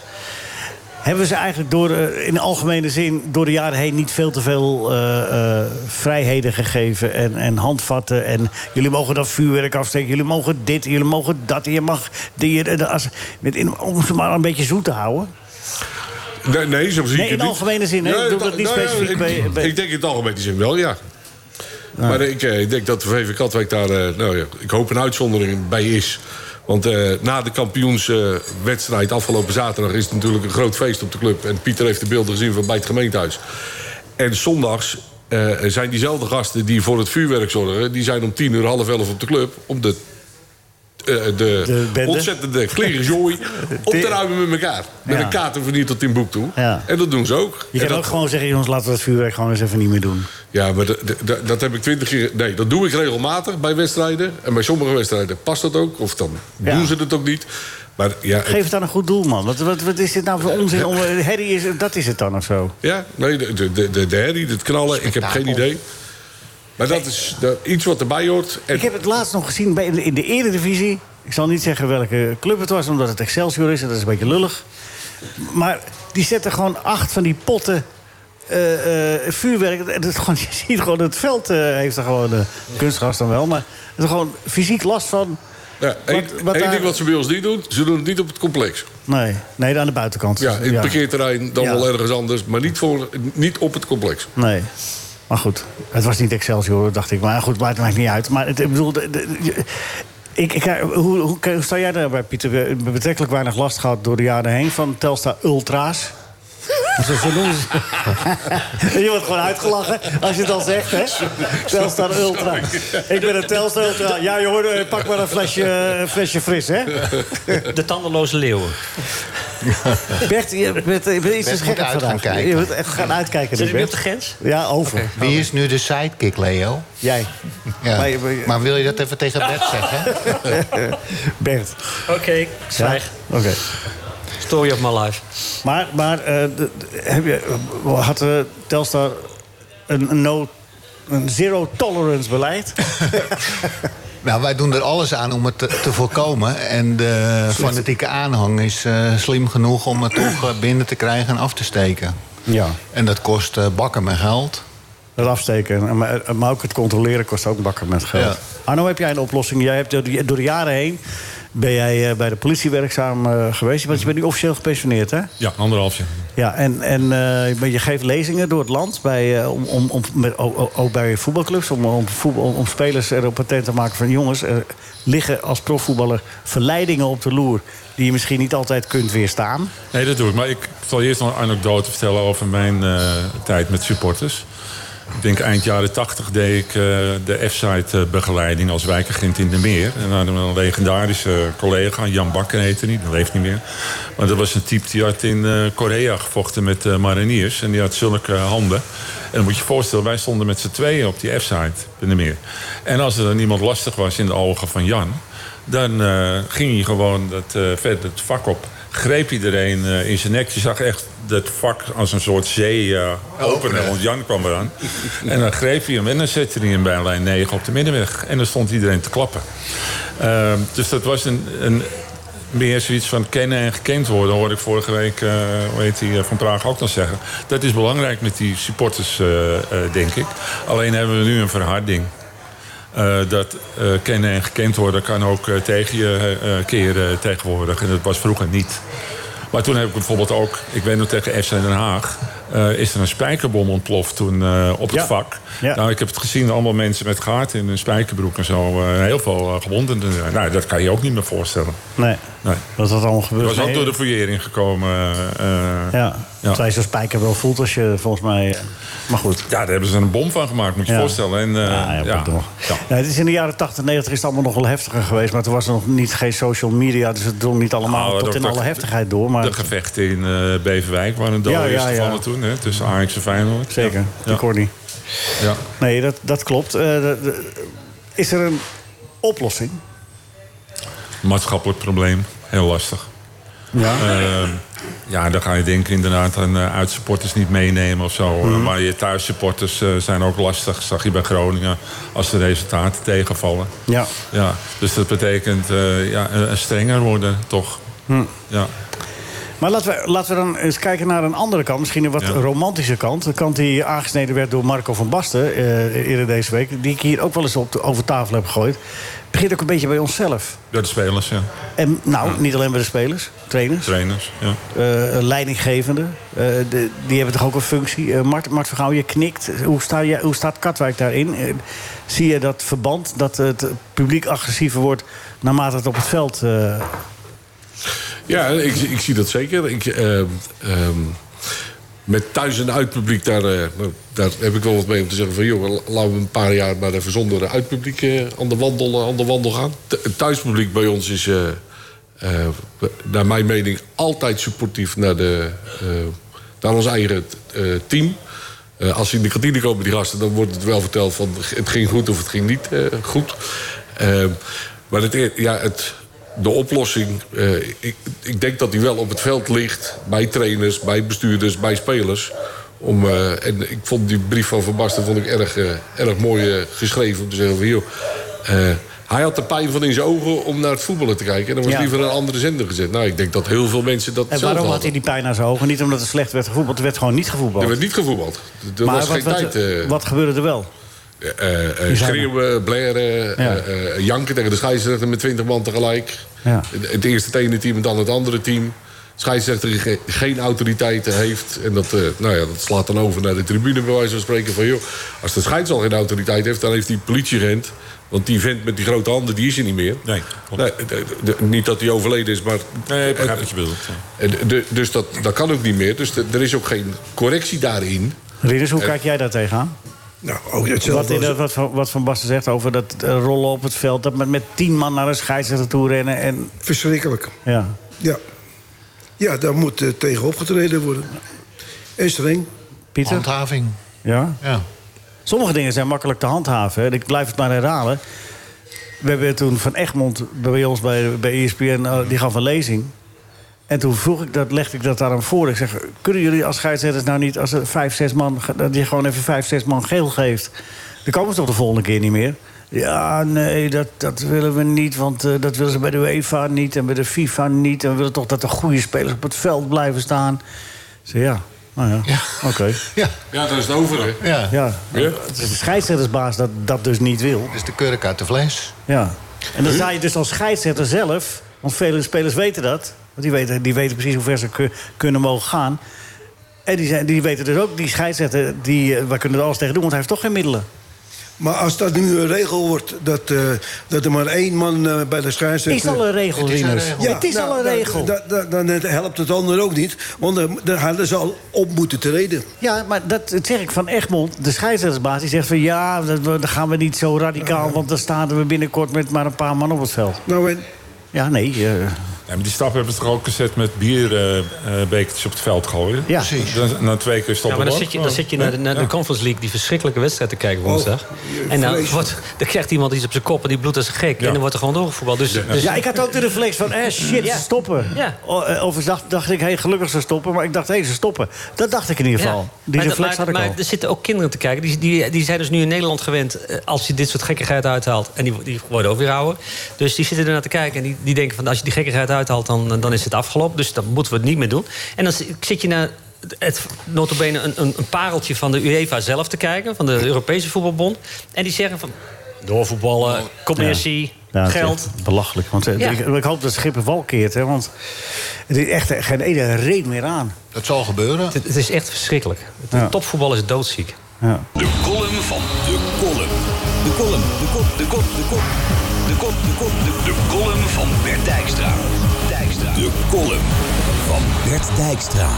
Hebben ze eigenlijk door, eh, in algemene zin door de jaren heen niet veel te veel eh, eh, vrijheden gegeven en, en handvatten? En jullie mogen dat vuurwerk afsteken, jullie mogen dit, jullie mogen dat, en je mag die, en dat, als, met, in- om ze maar een beetje zoet te houden. Nee, nee zo zie Nee, ik het in niet. nou algemene zin, hè? Ik bedoel dat niet ja, specifiek ik- bij- bij- Ik denk in het algemene zin wel, ja. Nou. Maar ik, eh, ik denk dat de VV Katwijk daar, eh, nou ja, ik hoop een uitzondering bij is. Want eh, na de kampioenswedstrijd afgelopen zaterdag is het natuurlijk een groot feest op de club. En Pieter heeft de beelden gezien van bij het gemeentehuis. En zondags eh, zijn diezelfde gasten die voor het vuurwerk zorgen... die zijn om tien uur, half elf op de club om de, eh, de, De bende. ontzettende klerenjooi op te ruimen met elkaar. Met Ja. een kater verniet tot in boek toe. Ja. En dat doen ze ook. Je En kan dat- ook gewoon zeggen, jongens, laten we dat vuurwerk gewoon eens even niet meer doen. Ja, maar de- de- de- dat heb ik twintig keer... Nee, dat doe ik regelmatig bij wedstrijden. En bij sommige wedstrijden past dat ook. Of dan Ja. doen ze het ook niet. Maar ja, het- Geef het aan een goed doel, man. Wat, wat, wat is dit nou voor onzin? Om, eh, Harry is, dat is het dan of zo. ja nee, de, de, de, de herrie, het knallen, ik heb geen Spektakel. idee. Maar dat is dat- iets wat erbij hoort. En, Ik heb het laatst nog gezien bij, in de Eredivisie. Ik zal niet zeggen welke club het was, omdat het Excelsior is. En dat is een beetje lullig. Maar die zetten gewoon acht van die potten eh, eh, vuurwerk. En dat gewoon, je ziet gewoon, het veld eh, heeft er gewoon... eh, kunstgras dan wel, maar er is gewoon fysiek last van... ja, één wat- wat één daar- ding wat ze bij ons niet doen, ze doen het niet op het complex. Nee, nee, aan de buitenkant. Ja, in het parkeerterrein, dan Ja. wel ergens anders. Maar niet, voor, niet op het complex. Nee. Maar goed, het was niet Excelsior, dacht ik. Maar goed, maar het maakt niet uit. Maar het, ik bedoel, de- de- je- ik, ik, hoe, hoe, hoe sta jij daarbij, Pieter? We hebben betrekkelijk weinig last gehad door de jaren heen van Telstar Ultra's. Zo zo noemen ze. je wordt gewoon uitgelachen als je het al zegt, hè? Telstar Ultra. Ik ben een Telstar Ultra. Ja, je hoorde, eh, pak maar een flesje, een flesje fris, hè? De tandenloze leeuwen. Bert, je bent, je bent iets moet gek dus uit gaan vandaag. kijken. Je moet echt gaan uitkijken. Zit ik nu, nu op Bert. de grens? Ja, over. Wie is nu de sidekick, Leo? Jij. Ja. Maar je- maar je- Maar wil je dat even tegen Bert zeggen? Bert. Oké, zwijg. Oké. Story of my life. Maar, maar eh, de- de- heb je, had eh, Telstar een, een no... Een zero-tolerance beleid. Nou, wij doen er alles aan om het te, te voorkomen. En de fanatieke aanhang is eh, slim genoeg om het toch eh, binnen te krijgen en af te steken. Ja. En dat kost eh, bakken met geld. Het afsteken. Maar, maar ook het controleren kost ook bakken met geld. Ja. Arno, heb jij een oplossing? Jij hebt eh, door, de- door de jaren heen... ben jij eh, bij de politie werkzaam eh, geweest. Want je bent nu officieel gepensioneerd, hè? Ja, anderhalf jaar. Ja, en, en eh, maar je geeft lezingen door het land. Bij, eh, om, om, om, met, o- o- ook bij voetbalclubs. Om, om, voetbal, om spelers erop attent te maken van... jongens, er liggen als profvoetballer verleidingen op de loer... die je misschien niet altijd kunt weerstaan. Nee, dat doe ik. Maar ik zal eerst nog een anekdote vertellen over mijn eh, tijd met supporters. Ik denk eind jaren 80 deed ik eh, de F-site eh, begeleiding als wijkagent in de meer. En dan hadden we een legendarische collega, Jan Bakker heette die, die leeft niet meer. Maar dat was een type die had in eh, Korea gevochten met eh, mariniers. En die had zulke handen. En dan moet je je voorstellen, wij stonden met z'n tweeën op die F-site in de meer. En als er dan iemand lastig was in de ogen van Jan... dan eh, ging hij gewoon dat, eh, verder het vak op. Greep iedereen eh, in zijn nek. Je zag echt dat vak als een soort zee eh, openen. Want Jan kwam eraan. en dan greep hij hem en dan zette hij hem bij lijn 9 op de middenweg. En dan stond iedereen te klappen. Ehm, dus dat was een, een meer zoiets van kennen en gekend worden, hoorde ik vorige week eh, hoe heet die, eh, van Praag ook nog zeggen. Dat is belangrijk met die supporters, eh, eh, denk ik. Alleen hebben we nu een verharding. Eh, dat eh, kennen en gekend worden kan ook eh, tegen je eh, keren tegenwoordig. En dat was vroeger niet. Maar toen heb ik bijvoorbeeld ook, ik weet nog tegen FC Den Haag... eh, is er een spijkerbom ontploft toen eh, op het Ja. vak. Ja. Nou, ik heb het gezien, allemaal mensen met gaten in hun spijkerbroek en zo. eh, heel veel eh, gewonden. Nou, dat kan je ook niet meer voorstellen. Nee, Nee. dat dat allemaal gebeurt. Dat was ook Nee, door de fouillering gekomen. eh, eh. Ja, Ja. terwijl je zo'n spijker wel voelt als je volgens mij... eh, Maar goed. Ja, daar hebben ze een bom van gemaakt, moet je je Ja. voorstellen. En, eh, Ja, ja, ja. pardon. Ja. Nou, het is in de jaren 80, 90 is het allemaal nog wel heftiger geweest. Maar toen was er nog niet, geen social media. Dus het drong niet allemaal Nou, tot dat- in dat- alle heftigheid door. Maar De gevechten in eh, Beverwijk waren dode Ja, ja, ja. gevallen toen, hè, tussen Ajax en Feyenoord. zeker, Ja. ik hoor niet. Ja. Nee, dat, dat klopt. Eh, de- de- is er een oplossing? Maatschappelijk probleem, heel lastig. Ja. ja, dan ga je denken inderdaad aan eh, uitsupporters niet meenemen of zo. Mhm. Eh, Maar je thuissupporters eh, zijn ook lastig, zag je bij Groningen, als de resultaten tegenvallen. Ja. Ja, dus dat betekent eh, ja, eh, strenger worden, toch? Ja. Hm. Maar laten we, laten we dan eens kijken naar een andere kant. Misschien een wat Ja. romantische kant. De kant die aangesneden werd door Marco van Basten eh, eerder deze week. Die ik hier ook wel eens op de, over tafel heb gegooid. Begint ook een beetje bij onszelf. Door de spelers, ja. En nou, niet alleen bij de spelers, trainers, Trainers, ja. eh, leidinggevenden. eh, de- die hebben toch ook een functie. Eh, Mart, Mart Vergouw, je knikt. Hoe, sta je, hoe staat Katwijk daarin? Eh, zie je dat verband dat het publiek agressiever wordt naarmate het op het veld... eh, Ja, ik, ik zie dat zeker. Ik, eh, ehm, met thuis- en uitpubliek, daar, eh, nou, daar heb ik wel wat mee om te zeggen van... joh, la- laten we een paar jaar maar even zonder uitpubliek eh, aan, de wandel, eh, aan de wandel gaan. Th- Het thuispubliek bij ons is, eh, eh, naar mijn mening, altijd supportief naar, de, eh, naar ons eigen eh, team. Eh, als ze in de kantine komen, die gasten, dan wordt het wel verteld van het ging goed of het ging niet eh, goed. Eh, maar het, e- ja, het, de oplossing, eh, ik, ik denk dat die wel op het veld ligt bij trainers, bij bestuurders, bij spelers. Om, eh, en ik vond die brief van Van Basten vond ik erg, eh, erg mooi eh, geschreven om te zeggen van joh. eh, hij had de pijn van in zijn ogen om naar het voetballen te kijken. En dan was Ja. liever een andere zender gezet. Nou, ik denk dat heel veel mensen dat En zelf waarom had hadden. hij die pijn aan zijn ogen? Niet omdat het slecht werd gevoetbald, er werd gewoon niet gevoetbald. Er werd niet gevoetbald. Er was wat, geen wat, tijd. eh, wat gebeurde er wel? eh, eh, Die zijn er. schreeuwen, blaren, eh Ja. eh, janken tegen de scheidsrechter met 20 man tegelijk. Ja. Het, het eerste het ene team en dan het andere team. De scheidsrechter die ge- geen autoriteiten heeft. En dat, eh, nou ja, dat slaat dan over naar de tribune bij wijze van spreken. Van, joh, als de scheids al geen autoriteit heeft, dan heeft die politieagent... want die vent met die grote handen, die is er niet meer. Nee, klopt. Nee, de- de- niet dat hij overleden is, maar... Nee, ik begrijp wat je bedoelt. ja. eh, de- dus dat, dat kan ook niet meer. Dus de- er is ook geen correctie daarin. Rieders, hoe kijk jij daar tegenaan? Nou, ook Wat, hetzelfde. in, als- dat- wat, Van- wat Van Basten zegt over dat eh, rollen op het veld... dat met, met tien man naar een scheidsrechter toe rennen en... Verschrikkelijk. Ja. Ja. Ja, daar moet eh, tegen opgetreden worden. En streng. Pieter? Handhaving. Ja? Ja. Sommige dingen zijn makkelijk te handhaven. hè. Ik blijf het maar herhalen. We hebben toen van Egmond bij ons bij, bij ESPN, eh, die gaf een lezing. En toen vroeg ik dat, legde ik dat aan hem voor. Ik zeg, kunnen jullie als scheidsrechters nou niet... als er vijf, zes man, ge- dat je gewoon even vijf, zes man geel geeft... dan komen ze toch de volgende keer niet meer? Ja, nee, dat, dat willen we niet, want eh, dat willen ze bij de UEFA niet... en bij de FIFA niet, en we willen toch dat de goede spelers op het veld blijven staan. Ik zeg, ja, nou ja, Ja. oké. Ja. Ja, dat is het over, hè? ja. Ja. Ja? Het is de scheidsrechtersbaas dat dat dus niet wil. Dus de kurk uit de fles. Ja. En dan sta je dus als scheidsrechter zelf, want vele spelers weten dat, want die weten, die weten precies hoe ver ze ku- kunnen mogen gaan. En die, zijn, die weten dus ook, die scheidsrechter, die, eh, wij kunnen er alles tegen doen, want hij heeft toch geen middelen. Maar als dat nu een regel wordt, dat, eh, dat er maar één man eh, bij de scheidsrechter... Het is al een regel, Het is een Rinus. regel. het is nou, al een dan- regel. Dan, dan, dan helpt het ander ook niet. Want dan, dan hadden ze al op moeten treden. Ja, maar dat, dat zeg ik van Egmond. De scheidsrechtersbaas die zegt van ja, dat, we- dat gaan we niet zo radicaal... want dan staan we binnenkort met maar een paar man op het veld. Nou, en, Ja, nee. eh, Ja, maar die stap hebben ze toch ook gezet met bierbekertjes op het veld gooien? ja. Precies. Dan, na twee keer Ja, stoppen maar dan we zit je, ook. Oh. dan zit je naar, de, naar de Conference League die verschrikkelijke wedstrijd te kijken woensdag. en dan, vreselijk. wordt, dan krijgt iemand iets op zijn kop en die bloedt als een gek. En dan wordt er gewoon doorgevoetbald. Dus, dus Ja, ik had ook de reflex van, eh, shit, Ja. ze stoppen. Ja. O- eh, Of ik dacht, dacht ik, hey, gelukkig ze stoppen. Maar ik dacht, hé, ze stoppen. Dat dacht ik in ieder Ja. geval. Die maar, reflex maar- had ik maar al. er zitten ook kinderen te kijken. Die, die, die zijn dus nu in Nederland gewend. eh, Als je dit soort gekkigheid uithaalt. En die, die worden ook weer ouder. Dus die zitten ernaar te kijken. En die, die denken van als je die gekkigheid uithaalt. Dan, dan is het afgelopen. Dus dan moeten we het niet meer doen. En dan zi- zit je naar het notabene een, een, een pareltje van de UEFA zelf te kijken. Van de Europese Voetbalbond. En die zeggen van doorvoetballen, commercie, Ja, het is geld. echt belachelijk. Want eh, Ja. ik, ik hoop dat Schip een wal keert, hè, want het is echt eh, geen ene reet meer aan. Dat zal gebeuren. Het, het is echt verschrikkelijk. Het, Ja. Topvoetbal is doodziek. De column van de kolom. De kolom, de kop, de kop, de kop. De kop, de kop, de De column van Bert Dijkstra. Dijkstra. De kolom van Bert Dijkstra.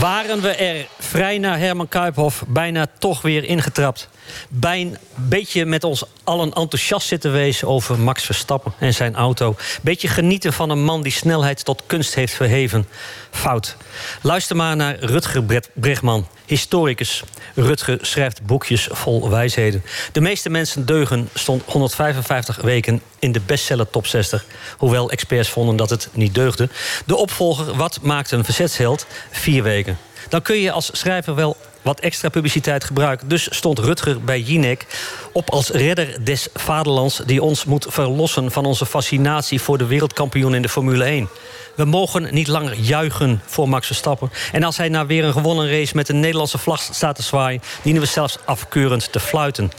Waren we er vrij na Herman Kuiphof bijna toch weer ingetrapt? Bij een beetje met ons allen enthousiast zitten wezen over Max Verstappen en zijn auto. Beetje genieten van een man die snelheid tot kunst heeft verheven. Fout. Luister maar naar Rutger Bret- Bregman, historicus. Rutger schrijft boekjes vol wijsheden. De meeste mensen deugen stond 155 weken in de bestseller top 60. Hoewel experts vonden dat het niet deugde. De opvolger Wat maakt een verzetsheld? Vier weken. Dan kun je als schrijver wel wat extra publiciteit gebruiken. Dus stond Rutger bij Jinek op als redder des vaderlands... die ons moet verlossen van onze fascinatie voor de wereldkampioen in de Formule 1. We mogen niet langer juichen voor Max Verstappen. En als hij na weer een gewonnen race met een Nederlandse vlag staat te zwaaien... dienen we zelfs afkeurend te fluiten.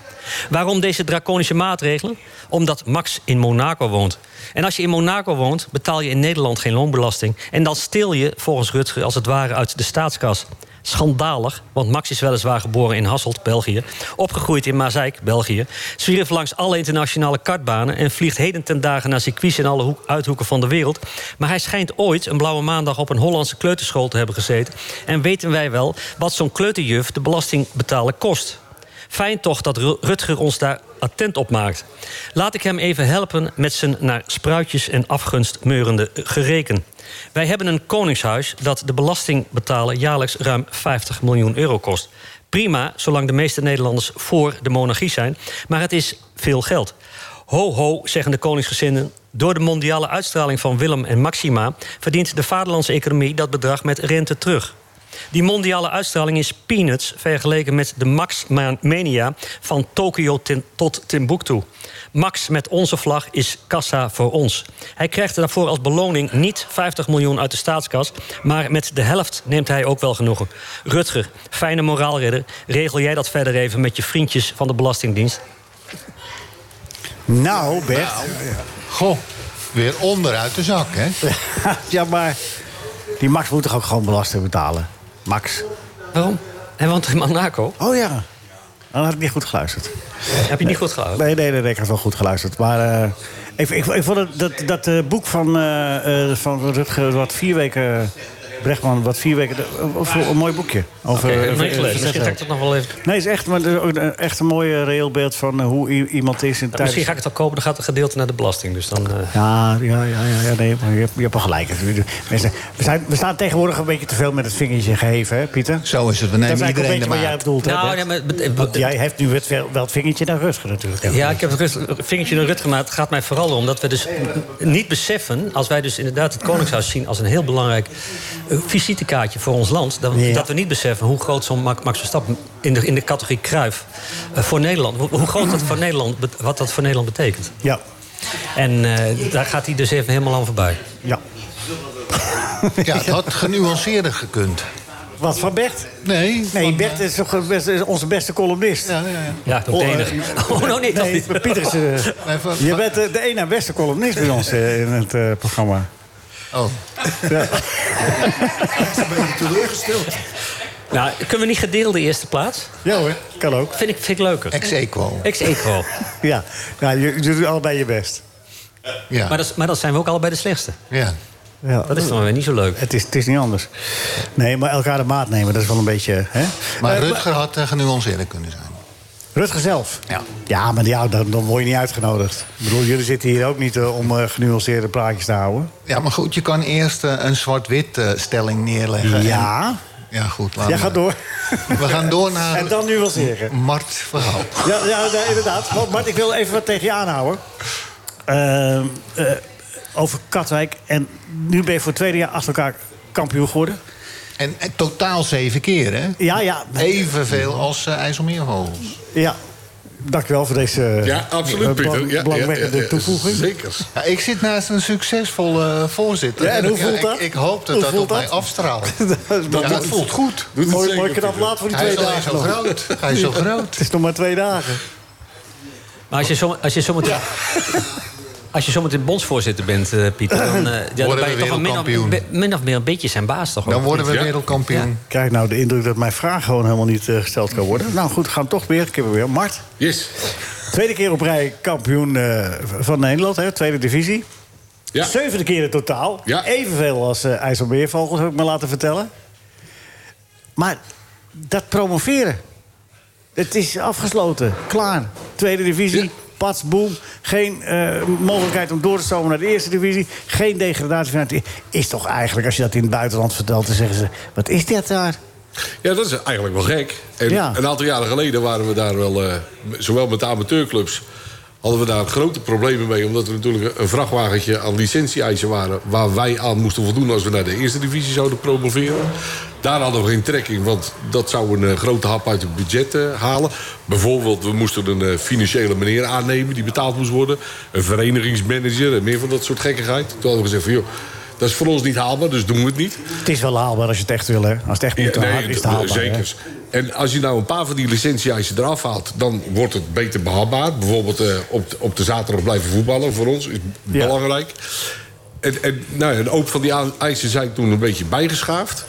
Waarom deze draconische maatregelen? Omdat Max in Monaco woont. En als je in Monaco woont, betaal je in Nederland geen loonbelasting. En dan steel je, volgens Rutger, als het ware uit de staatskas. Schandalig, want Max is weliswaar geboren in Hasselt, België. Opgegroeid in Mazeik, België. Zwierf langs alle internationale kartbanen. En vliegt heden ten dagen naar circuits in alle hoek- uithoeken van de wereld. Maar hij schijnt ooit een blauwe maandag op een Hollandse kleuterschool te hebben gezeten. En weten wij wel wat zo'n kleuterjuf de belastingbetaler kost. Fijn toch dat Ru- Rutger ons daar attent op maakt. Laat ik hem even helpen met zijn naar spruitjes en afgunst meurende gereken. Wij hebben een koningshuis dat de belastingbetaler jaarlijks ruim 50 miljoen euro kost. Prima, zolang de meeste Nederlanders voor de monarchie zijn, maar het is veel geld. Ho ho, zeggen de koningsgezinden. Door de mondiale uitstraling van Willem en Maxima verdient de vaderlandse economie dat bedrag met rente terug. Die mondiale uitstraling is peanuts vergeleken met de Max-mania van Tokio tin- tot Timbuktu. Max met onze vlag is kassa voor ons. Hij krijgt daarvoor als beloning niet 50 miljoen uit de staatskas, maar met de helft neemt hij ook wel genoegen. Rutger, fijne moraalridder, regel jij dat verder even met je vriendjes van de Belastingdienst? Nou, Bert. Goh, weer onderuit de zak, hè? ja, maar die Max moet toch ook gewoon belasting betalen? Max. Waarom? Hij woont in Monaco. Oh ja. Dan had ik niet goed geluisterd. Heb je niet goed gehouden? Nee, nee, nee, nee, ik had wel goed geluisterd. Maar eh, ik, ik, ik vond het, dat, dat eh, boek van, eh, eh, van Rutger, wat vier weken... Brechtman, wat vier weken... eh, of een mooi boekje. Over, Oké, eh, heb ik over- niet gelezen. Misschien ga ik dat nog wel even. Nee, het is echt, maar het is ook een- echt een mooi eh, reëel beeld van eh, hoe i- iemand is in tijd. Misschien ga ik het al kopen, dan gaat het gedeelte naar de belasting. Dus dan, eh, Ja, ja, ja, ja, ja nee, maar je, hebt, je hebt wel gelijk. Mensen, we, zijn, we staan tegenwoordig een beetje te veel met het vingertje geheven, hè, Pieter? Zo is het, we dat is nemen eigenlijk een iedereen de beetje wat jij maat. bedoelt. hè, Nou, Bert? nee, maar, het- Want jij heeft nu het, wel het vingertje naar Rutger natuurlijk. hè? Ja, ik heb het rust- vingertje naar Rutger, maar het gaat mij vooral om dat we dus n- niet beseffen, als wij dus inderdaad het Koningshuis zien als een heel belangrijk eh, visitekaartje voor ons land, dat, Ja. dat we niet beseffen hoe groot zo'n Max Max Verstappen in de, in de categorie Kruif eh, voor Nederland, hoe, hoe groot dat voor Nederland, bet- wat dat voor Nederland betekent. Ja. En eh, daar gaat hij dus even helemaal aan voorbij. ja. Ja, het had genuanceerder gekund. Wat van Bert? Nee, Nee, want- Bert is, toch eh, best- is onze beste columnist. Ja, ja, ja. Ja, dat eh, enige. Oh, no, nee, dat Nee, niet. maar Pieter is... eh, Nee, van- je bent eh, de ene en beste columnist bij ons eh, in het eh, programma. Oh, teleurgesteld. Nou, kunnen we niet gedeelde eerste plaats? Ja hoor, kan ook. Vind ik, vind ik leuker. ex-equo. Ex-equo. Ja, ja je, je doet allebei je best. Ja. Maar, dat is- maar dat zijn we ook allebei de slechtste. ja. Ja, Dat is dan weer niet zo leuk. Het is, het is niet anders. Nee, maar elkaar de maat nemen, dat is wel een beetje... Hè? Maar Eh, Rutger had eh, genuanceerder kunnen zijn. Rutger zelf? Ja. Ja, maar ja, dan, dan word je niet uitgenodigd. Ik bedoel, jullie zitten hier ook niet eh, om eh, genuanceerde praatjes te houden. Ja, maar goed, je kan eerst eh, een zwart-wit eh, stelling neerleggen. Ja, En- ja, goed. laat jij maar. gaat door. We gaan door naar En dan nuanceren. Mart verhaal. Ja, ja nee, inderdaad. Maar, Mart, ik wil even wat tegen je aanhouden. Ehm, eh, over Katwijk. En nu ben je voor het tweede jaar achter elkaar kampioen geworden. En, en totaal zeven keer, hè? Ja, ja. Evenveel als eh IJsselmeervogels. ja. Dankjewel voor deze Ja, eh, absoluut, belang- Pieter. Ja, belangwekkende ja, ja, toevoeging. Zeker. Ja, ik zit naast een succesvolle eh, voorzitter. Ja, en hoe voelt ik, dat? Ik, hoop dat Hoe dat voelt op dat? mij afstraalt. dat ja, het voelt goed. Doet het Mooi, zeker, mooi knap Pieter. laat voor die Hij twee is alleen dagen. zo nog. groot. Hij is zo groot. Het is nog maar twee dagen. Maar als je, zo, als je zometeen... Als je zometeen bondsvoorzitter bent, eh, Pieter... dan, eh, ja, dan Worden ben je we toch wel min of, wereldkampioen. be- min of meer een beetje zijn baas toch? Dan ook? worden we Ja. wereldkampioen. Ik krijg nou de indruk dat mijn vraag gewoon helemaal niet eh, gesteld kan worden. Nou goed, we gaan toch weer. Ik heb er weer. Mart, Yes. tweede keer op rij kampioen eh, van Nederland, hè, tweede divisie. Ja. Zevende keer in totaal. Ja. Evenveel als eh IJsselmeervogels, heb ik me laten vertellen. Maar dat promoveren, het is afgesloten. Klaar. Tweede divisie, pats, boom. Geen eh, mogelijkheid om door te stomen naar de eerste divisie. Geen degradatie vanuit de... Is toch eigenlijk, als je dat in het buitenland vertelt... dan zeggen ze, wat is dit daar? Ja, dat is eigenlijk wel gek. En Ja. Een aantal jaren geleden waren we daar wel, eh, zowel met de amateurclubs, hadden we daar grote problemen mee. Omdat er natuurlijk een vrachtwagentje aan licentie-eisen waren. waar wij aan moesten voldoen als we naar de eerste divisie zouden promoveren. Daar hadden we geen trekking, want dat zou een eh, grote hap uit het budget eh, halen. Bijvoorbeeld, we moesten een eh, financiële meneer aannemen die betaald moest worden. Een verenigingsmanager en meer van dat soort gekkigheid. Toen hadden we gezegd van joh. Dat is voor ons niet haalbaar, dus doen we het niet. Het is wel haalbaar als je het echt wil, hè? Als het echt moet, Ja, dan nee, is het haalbaar. hè? zeker. En als je nou een paar van die licentie-eisen eraf haalt... dan wordt het beter behapbaar. Bijvoorbeeld eh, op, de- op de zaterdag blijven voetballen voor ons is Ja. belangrijk. En, en, nou, ja, en ook van die a- eisen zijn toen een beetje bijgeschaafd.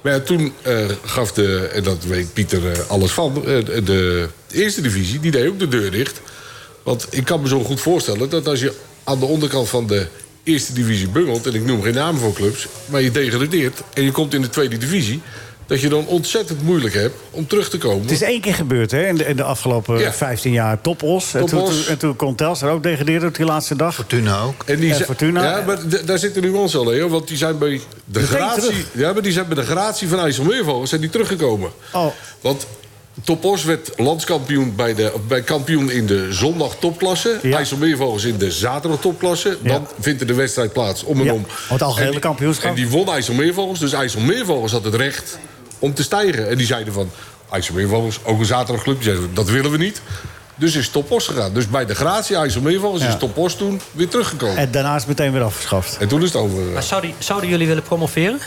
Maar ja, toen eh, gaf de, en dat weet Pieter eh, alles van... eh, de, de eerste divisie, die deed ook de deur dicht. Want ik kan me zo goed voorstellen dat als je aan de onderkant van de eerste divisie bungelt... en ik noem geen namen voor clubs, maar je degradeert... en je komt in de tweede divisie... dat je dan ontzettend moeilijk hebt om terug te komen. Het is één keer gebeurd hè, in, de, in de afgelopen Ja. 15 jaar. Topos. En toen, Topos. toen, en toen kon Telstar ook degraderen op die laatste dag. Fortuna ook. En die En zijn- Fortuna- Ja, maar d- daar zit een nuance al in, hoor, want die zijn bij de Meteen gratie... terug. Ja, maar die zijn bij de gratie van IJsselmeervogels zijn die teruggekomen. Oh. Want Topos werd landskampioen bij, de, of bij kampioen in de zondag topklasse. Ja. IJsselmeervogels in de zaterdag topklasse. Dan vindt er de wedstrijd plaats, om en Ja, om. want algehele En die- kampioenschap. En die won IJsselmeervogels, dus IJsselmeervogels had het recht om te stijgen. En die zeiden van, IJsselmeervogels, ook een zaterdagclub, die zeiden, dat willen we niet. Dus is Topos gegaan. Dus bij de gratie IJsselmeervogels is Topos toen weer teruggekomen. En daarna is het meteen weer afgeschaft. En toen is het over. Maar zouden, zouden jullie willen promoveren?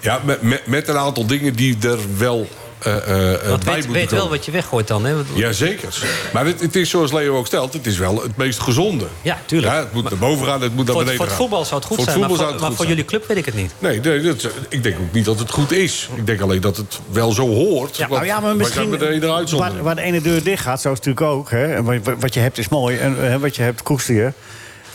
Ja, met, met, met een aantal dingen die er wel eh, eh, eh, Want bij weet, moeten weet wel komen. wat je weggooit dan, hè? Want- Jazeker. Maar het, het is zoals Leo ook stelt, het is wel het meest gezonde. Ja, tuurlijk. het moet naar boven gaan, het moet naar Voor, beneden voor het gaan. voetbal zou het goed Voor zijn, maar voetbal voor, zou het maar goed voor zijn. jullie club weet ik het niet. Nee, nee dat, ik denk ook niet dat het goed is. Ik denk alleen dat het wel zo hoort. Ja, want Nou ja, maar wij misschien zijn met de ene uitzondering. waar, waar de ene deur dicht gaat, zo is het natuurlijk ook. Hè. En wat, wat je hebt is mooi en hè, wat je hebt koester je.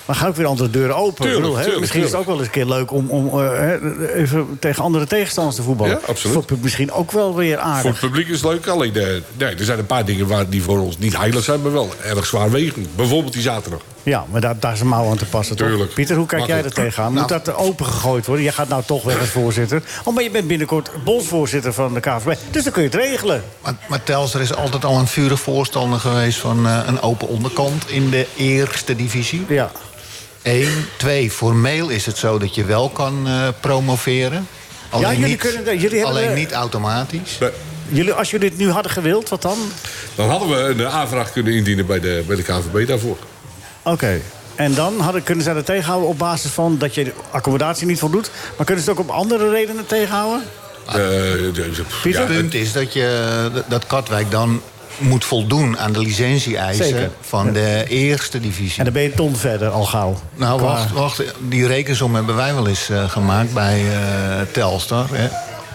Maar ga ook weer andere deuren open. Ik Tuurlijk, hè, tuurlijk, misschien is het ook wel eens een keer leuk om, om eh, hè, even tegen andere tegenstanders te voetballen. Ja, absoluut. Vond ik misschien ook wel weer voor aardig. het publiek is het leuk. Alleen de, nee, er zijn een paar dingen waar, die voor ons niet heilig zijn, maar wel erg zwaarwegend. Bijvoorbeeld die zaterdag. Ja, maar daar, daar is een mouw aan te passen. toch? Tuurlijk. Nou. Pieter, hoe kijk jij er Makkelijk. tegenaan? Moet dat open gegooid worden? Jij gaat nou toch weg als voorzitter. Oh, maar je bent binnenkort bondsvoorzitter van de KVB. Dus dan kun je het regelen. Maar, maar Tels, er is altijd al een vurig voorstander geweest van eh, een open onderkant in de eerste divisie. Ja. Eén, twee, formeel is het zo dat je wel kan eh, promoveren. Alleen, jullie niet, kunnen dat- jullie hebben, alleen eh, niet automatisch. Maar Jullie, als jullie dit nu hadden gewild, wat dan? Dan hadden we een eh, aanvraag kunnen indienen bij de, bij de KVB daarvoor. Oké. En dan hadden, kunnen zij dat tegenhouden op basis van dat je de accommodatie niet voldoet. Maar kunnen ze het ook op andere redenen tegenhouden? Eh, de- de- Pieter? ja, Het punt is dat, je, dat- dat Katwijk dan moet voldoen aan de Zeker. licentie-eisen van de eerste divisie. En dan ben je een ton verder al gauw. Nou, Qua- wacht, wacht. Die rekensom hebben wij wel eens eh, gemaakt bij eh, Telstar. Hè.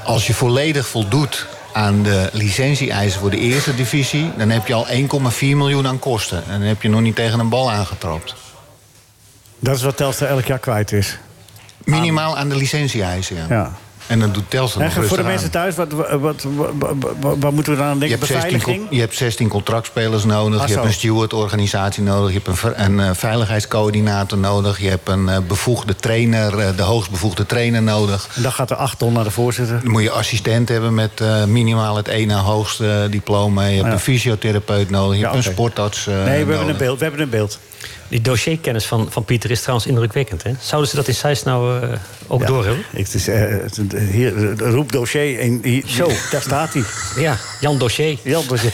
Als je volledig voldoet aan de licentie-eisen voor de eerste divisie... dan heb je al 1,4 miljoen aan kosten. En dan heb je nog niet tegen een bal aangetrapt. Dat is wat Telstra elk jaar kwijt is. Minimaal aan de licentie-eisen, ja. Ja. En dan doet Telstar Hè, nog voor de rustig mensen aan. thuis, wat, wat, wat, wat- wat- waar moeten we dan aan Je denken? hebt, 16, Beveiliging? con- je hebt 16 contractspelers nodig. Ah, je hebt zo. een stewardorganisatie nodig. Je hebt een, ver- een eh, veiligheidscoördinator nodig. Je hebt een eh, bevoegde trainer, eh, de hoogstbevoegde trainer nodig. En dan gaat er acht ton naar de voorzitter. Dan moet je assistent hebben met eh, minimaal het ene hoogste eh, diploma. Je hebt een fysiotherapeut nodig. Je Ah, Ja, hebt oké. een sportarts eh, Nee, we hebben een nodig. beeld. We hebben een beeld. Die dossierkennis van, van Pieter is trouwens indrukwekkend. Hè? Zouden ze dat in Zeist nou eh, ook Ja. doorhebben? Ik, het is, eh, het- het- hier, eh, roep dossier. En hier, zo, daar staat hij. Ja, Jan Dossier. Jan dossier.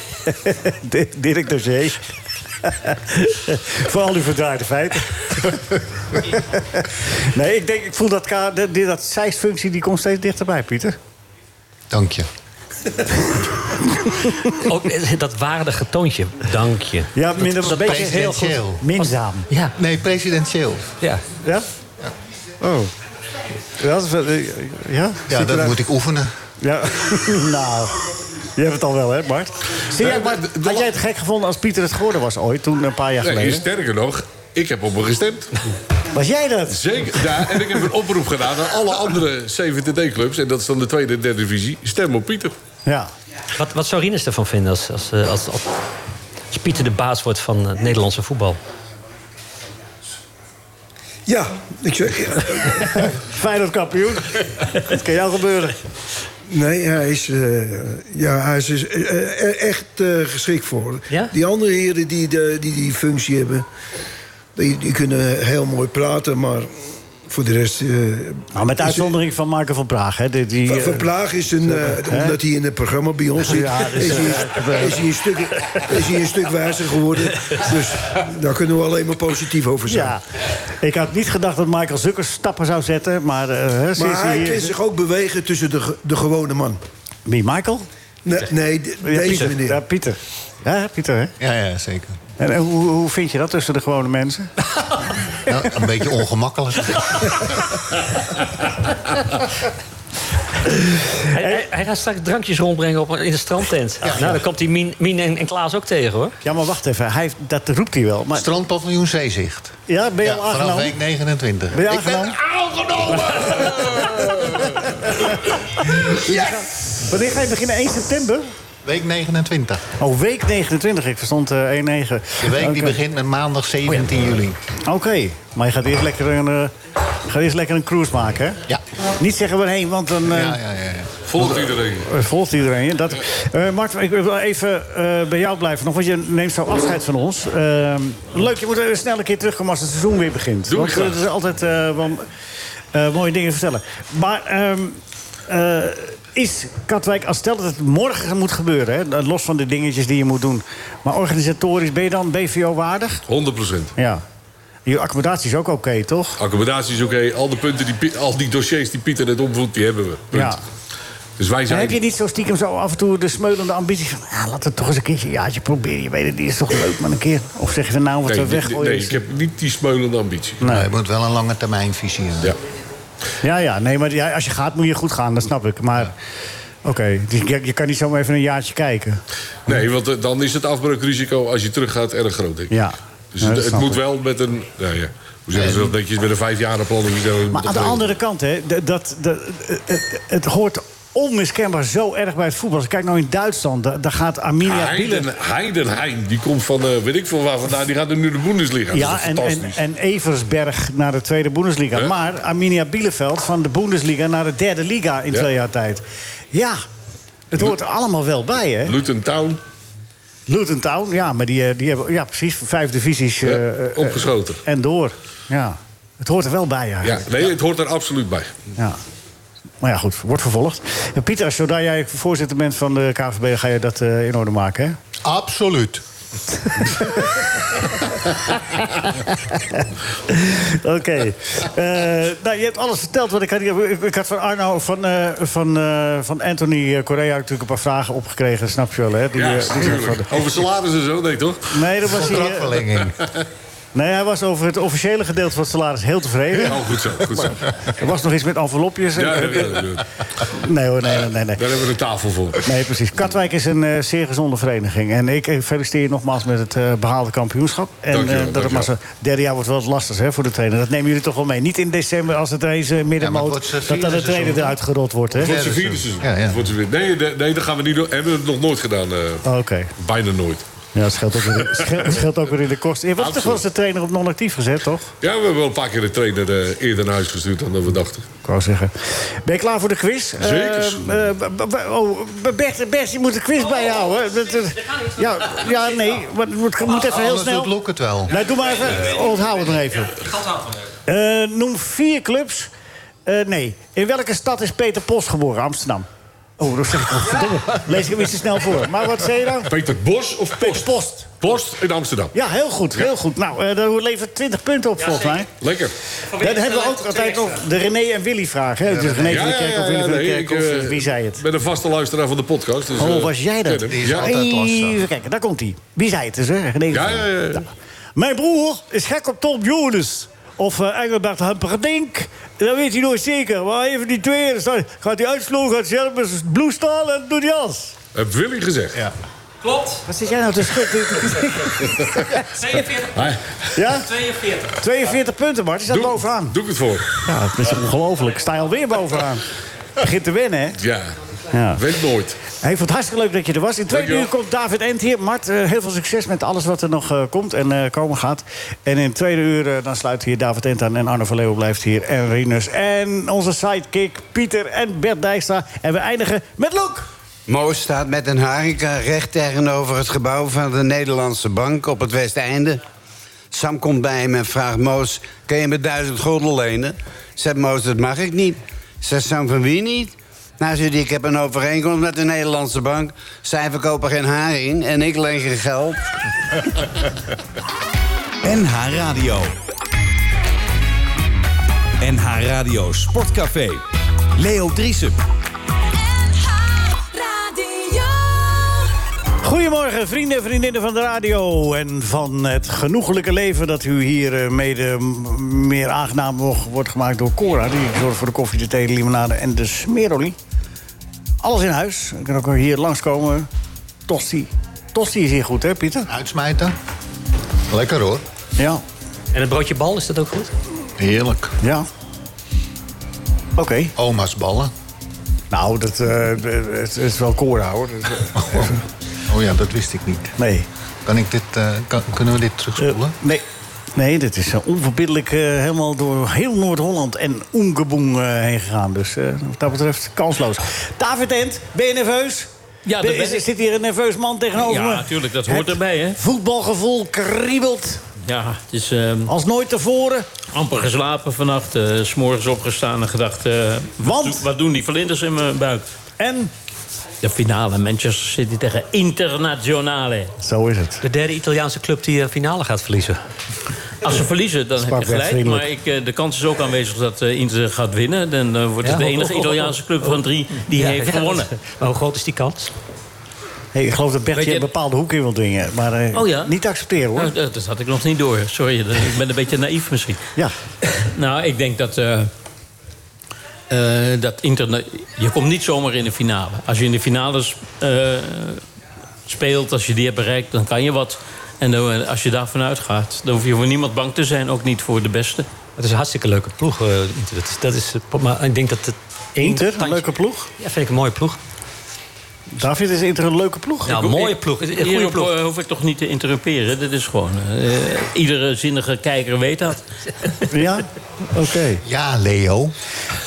Di- Dirk dossier. Voor al uw verdraaide feiten. nee, ik, denk, ik voel dat, ka- dat, die- dat zijsfunctie die komt steeds dichterbij, Pieter. Dank je. Ook, eh, dat waardige toontje. Dank je. Ja, minder dat presidentieel. Minzaam. Ja, Nee, presidentieel. ja. Ja? Oh. Ja, dat is wel- eh, ja? Ja, dat moet ik oefenen. Ja, nou. Je hebt het al wel, hè, Bart? Zie jij, Bart, had jij het gek gevonden als Pieter het geworden was ooit, toen een paar jaar Nee, geleden? sterker nog, ik heb op hem gestemd. Was jij dat? Zeker. Ja, en ik heb een oproep gedaan aan alle andere CVTD-clubs. En dat is dan de tweede en derde divisie. Stem op Pieter. Ja. Wat, wat zou Rinus ervan vinden als, als, eh, als, als, als Pieter de baas wordt van het Nederlandse voetbal? Ja, ik zeg. ja. Feyenoord kampioen. dat kan jou gebeuren. Nee, hij is, eh, ja, hij is eh, eh, echt eh, geschikt voor. Ja? Die andere heren die de, die, die functie hebben, die, die kunnen heel mooi praten, maar voor de rest. eh, Nou, met uitzondering van Marco van Praag. Hè, die, die, Van, eh, van Plaag is een, eh, hè? omdat hij in het programma bij ons zit, Ja, dus, is, hij, eh, is, hij een stuk, is hij een stuk wijzer geworden. Dus daar kunnen we alleen maar positief over zijn. ja. Ik had niet gedacht dat Michael Zuckers stappen zou zetten. Maar, eh, hè, sinds Maar hij hier- kan zich ook bewegen tussen de, ge- de gewone man. Wie, Michael? Nee, nee de- Ja, deze Pieter. Ja, meneer. Pieter. Ja, Pieter, hè? Ja, ja, zeker. En, eh, hoe, hoe vind je dat tussen de gewone mensen? Ja, Nou, een beetje ongemakkelijk. Hij, hij, hij gaat straks drankjes rondbrengen op, in de strandtent. Nou, dan komt hij Mien, Mien en, en Klaas ook tegen, hoor. Ja, maar wacht even. Hij, dat roept hij wel. Maar, Strandpaviljoen Zeezicht. ja, ben je Ja, al vanaf aangenomen? week 29. Ben je Ik ben aangenomen? Wanneer ga je beginnen? 1 september? week 29. Oh, week 29. Ik verstond eh 1-9. De week die begint met maandag 17 juli. Oh Oké, maar je gaat eerst lekker een, eh, gaat eerst lekker een cruise maken, hè? Ja. Niet zeggen waarheen, want dan eh, Ja, ja, ja. ja. Volgt iedereen. eh, volgt iedereen. je. Dat, Eh, Mart, ik wil even eh, bij jou blijven nog, want je neemt zo afscheid van ons. Ehm, leuk, je moet er snel een keer terugkomen als het seizoen weer begint. Doe ik want graag. eh, er is altijd eh, wel, eh, mooie dingen te vertellen. Maar ehm, eh, is Katwijk, als stel dat het morgen moet gebeuren, hè, los van de dingetjes die je moet doen, maar organisatorisch ben je dan BVO waardig? 100%. Ja. Je accommodatie is ook oké, toch? Accommodatie is oké. Al de punten, die, Piet- al die dossiers die Pieter net opvoedt, die hebben we. Punt. Ja. Dus wij En zijn... heb je niet zo stiekem zo af en toe de smeulende ambitie van... Ah, laat het toch eens een keertje een jaartje proberen. Je weet het, die is toch leuk, maar een keer. Of zeg je nou wat Nee, we nee, weggooien? nee, ik heb niet die smeulende ambitie. Nou, je moet wel een lange termijn visie hebben. Ja. Ja, ja, nee, maar ja, als je gaat moet je goed gaan, dat snap ik. Maar oké, dus je, je kan niet zomaar even een jaartje kijken. Nee, want eh, dan is het afbreukrisico als je teruggaat erg groot, denk ik. Ja. Dus Ja, het, dat het snap moet ik. wel met een... Nou ja, hoe zeggen ze dat netjes? Met een vijfjarenplan of zo. Maar aan de andere kant, hè, d- dat, dat, het, het- het hoort onmiskenbaar zo erg bij het voetbal. Als ik Kijk nou in Duitsland, daar, daar gaat Arminia Bielen... Heiden, Heidenheim, die komt van eh, weet ik veel waar vandaan. Die gaat er nu de Bundesliga. Ja, dat is en, fantastisch. en, en Eversberg naar de tweede Bundesliga. Ja. Maar Arminia Bielefeld van de Bundesliga naar de derde liga in Ja. twee jaar tijd. Ja, het hoort er allemaal wel bij, hè? Luton Town, Luton Town, ja, maar die, eh, die hebben ja, precies vijf divisies eh, ja, eh, opgeschoten. en door. Ja, het hoort er wel bij, Ja, eigenlijk. nee, het hoort er absoluut bij. Ja. Maar ja, goed, wordt vervolgd. En Pieter, zodra jij voorzitter bent van de KVB, ga je dat eh, in orde maken, hè? Absoluut. Oké. Eh, nou, je hebt alles verteld wat ik had. Ik ik had van Arno, van, eh, van, eh, van Anthony eh, Correa natuurlijk een paar vragen opgekregen. Snap je wel, hè? Die, Ja, eh, die zijn tuurlijk. van- Over salaris en zo, nee toch? Nee, dat was hij, eh, Contractverlenging. nee, hij was over het officiële gedeelte van het salaris heel tevreden. Oh, goed zo, goed zo. Er was nog iets met envelopjes. en- Ja, ja, ja, ja. Nee hoor, nee, nee, nee. nee. Daar hebben we een tafel voor. Nee, precies. Katwijk is een eh, zeer gezonde vereniging. En ik eh, feliciteer je nogmaals met het eh, behaalde kampioenschap. En Dankjewel, eh, dat het maar zo... dankjewel. derde jaar wordt wel lastig hè, voor de trainer. Dat nemen jullie toch wel mee. Niet in december als het deze maar het middenmoot... wordt zijn dat dan de vierde trainer seizoen. eruit gerold wordt. Hè? Voor zijn Ja, vierde dat is- seizoen. ja, ja. Voor zijn vierde- Nee, nee, nee, dat gaan we niet doen. Hebben we het nog nooit gedaan. eh, Oh, Oké. bijna nooit. Ja, dat scheelt ook weer, dat scheelt, dat scheelt ook weer in de kosten. Je wordt toch wel eens de trainer op non-actief gezet, toch? Ja, we hebben wel een paar keer de trainer eh, eerder naar huis gestuurd dan dat we dachten. Ik wou zeggen. Ben je klaar voor de quiz? Zeker. Eh, eh, b- b- oh, Bert, Bert, je moet de quiz bijhouden. Dat- dat- Ja, ja, nee. maar Het moet, moet even heel Anders doet snel. Lok het wel. Nou, doe maar even. Onthoud het nog even. Eh, noem vier clubs. Eh, nee. In welke stad is Peter Post geboren? Amsterdam. Oh, dat zeg ik al. Verdomme. Lees ik hem iets te snel voor. Maar wat zei je dan? Peter Bos of Peter Post? Post. Post in Amsterdam. Ja, heel goed. Heel goed. Nou, eh dat levert 20 punten op, volgens mij. Lekker. Dan hebben we ook altijd nog de René en Willy vraag. Hè? Dus René van de Kerk of Willy van de nee, Kerk ik, of eh, eh, wie zei het? ben een vaste luisteraar van de podcast. Dus, Oh, eh, was jij dat? ken hem. Die is Ja. altijd- lastig. Even kijken, daar komt hij. Wie zei het dus, hè? René Ja, van- ja, ja, ja. Mijn broer is gek op Tom Jones. Of eh, Engelbert Humperdinck. Dat weet hij nooit zeker. Maar even die twee, dan staat- gaat hij uitslogen, gaat hij zelf met zijn blouse stalen en doet hij als. Heb Willy gezegd. Ja. Klopt. Wat zit jij nou te schudden? 42. ja? 42. 42 punten, Mart. Je staat bovenaan. Doe ik het voor. Ja, het is ongelooflijk. Sta je alweer bovenaan. Begint te winnen, hè? Ja, Ja. weet nooit. Hey, ik vond het hartstikke leuk dat je er was. In twee Dankjewel. uur komt David Ent hier. Mart, eh, heel veel succes met alles wat er nog eh, komt en eh, komen gaat. En in het tweede uur eh, dan sluit hier David Ent aan. En Arno van Leeuwen blijft hier. En Rinus. En onze sidekick Pieter en Bert Dijkstra. En we eindigen met Loek. Moos staat met een harika recht tegenover het gebouw van de Nederlandse Bank op het Westeinde. Sam komt bij hem en vraagt Moos: Kun je me duizend gulden lenen? Zegt Moos: Dat mag ik niet. Zegt Sam: Van wie niet? Nou, zegt hij, ik heb een overeenkomst met de Nederlandse Bank. Zij verkopen geen haring en ik leen geen geld. NH Radio. NH Radio Sportcafé. Leo Driesen. Goedemorgen, vrienden en vriendinnen van de radio en van het genoegelijke leven dat u hier eh, mede m- meer aangenaam wo- wordt gemaakt door Cora. Die zorgt voor de koffie, de thee, de limonade en de smerolie. Alles in huis. U kan ook hier langskomen. Tosti. Tosti is hier goed, hè, Pieter? Uitsmijten. Lekker hoor. Ja. En het broodje bal, is dat ook goed? Heerlijk. Ja. Oké. Oma's ballen. Nou, dat eh, het is wel Cora, hoor. Dat is- Oh ja, dat wist ik niet. dus, eh, Nee. Kan ik dit, eh, kan- kunnen we dit terugspoelen? Eh, nee. Nee, dit is eh, onverbiddelijk eh, helemaal door heel Noord-Holland en Oengeboeng eh, heen gegaan. Dus eh, wat dat betreft kansloos. David Ent, ben je nerveus? Ja, Ben- dat ben is- ik. Zit hier een nerveus man tegenover me? Ja, natuurlijk, dat hoort Het erbij, hè? Voetbalgevoel kriebelt Ja, het is ehm, als nooit tevoren. amper geslapen vannacht. eh, S S'morgens opgestaan en gedacht... eh, Want? Wat, do- wat doen die verlinders in mijn buik? En De finale, Manchester City tegen Internationale. zo is het. De derde Italiaanse club die eh, finale gaat verliezen. Als ze verliezen, dan heb Sprak je werd gelijk. vriendelijk. Maar ik, eh, de kans is ook aanwezig dat eh, Inter gaat winnen. Dan eh, wordt het Ja. de enige Italiaanse club van drie die Ja, heeft ja, gewonnen. dat is- Maar hoe groot is die kans? Hey, ik geloof dat Bertje Weet je- een bepaalde hoek in wil dwingen. Maar eh, Oh ja? niet te accepteren, hoor. Nou, dat, dat had ik nog niet door. Sorry, dat- ik ben een beetje naïef misschien. Ja. Nou, ik denk dat. eh, eh, dat interna- je komt niet zomaar in de finale. Als je in de finales eh, speelt, als je die hebt bereikt, dan kan je wat. En dan, eh, als je daarvan uitgaat, dan hoef je voor niemand bang te zijn. Ook niet voor de beste. Het is een hartstikke leuke ploeg. eh, Inter. dat is, dat is, eh, maar ik denk dat het één Inter, een tandje- leuke ploeg. Ja, vind ik een mooie ploeg. David, is Inter een leuke ploeg? Nou, Ja, een Nou, mooie ploeg. Een goede Hierop ploeg. eh, hoef ik toch niet te interrumperen. Dit is gewoon. eh, iedere zinnige kijker weet dat. Ja? Oké. Ja, Leo.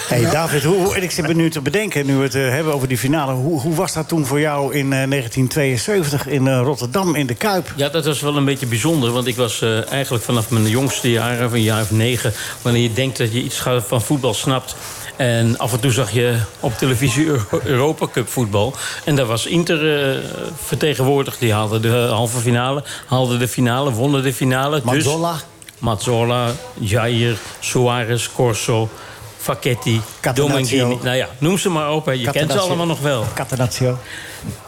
Hey David, hoe, hoe- en ik zit me nu te bedenken, nu we het eh, hebben over die finale. Hoe, hoe was dat toen voor jou in eh, 1972 in eh, Rotterdam in de Kuip? Ja, dat was wel een beetje bijzonder. Want ik was eh, eigenlijk vanaf mijn jongste jaren, van een jaar of negen... wanneer je denkt dat je iets gaat- van voetbal snapt... En af en toe zag je op televisie Euro- Europa Cup voetbal. En daar was Inter eh, vertegenwoordigd. Die haalden de halve finale, haalden de finale, wonnen de finale. Dus- Mazzola, Mazzola, Jair, Suarez, Corso, Facchetti, Catenaccio. Domenghini. Nou ja, noem ze maar op. hè. Je kent ze Catenaccio. allemaal nog wel. Catenaccio.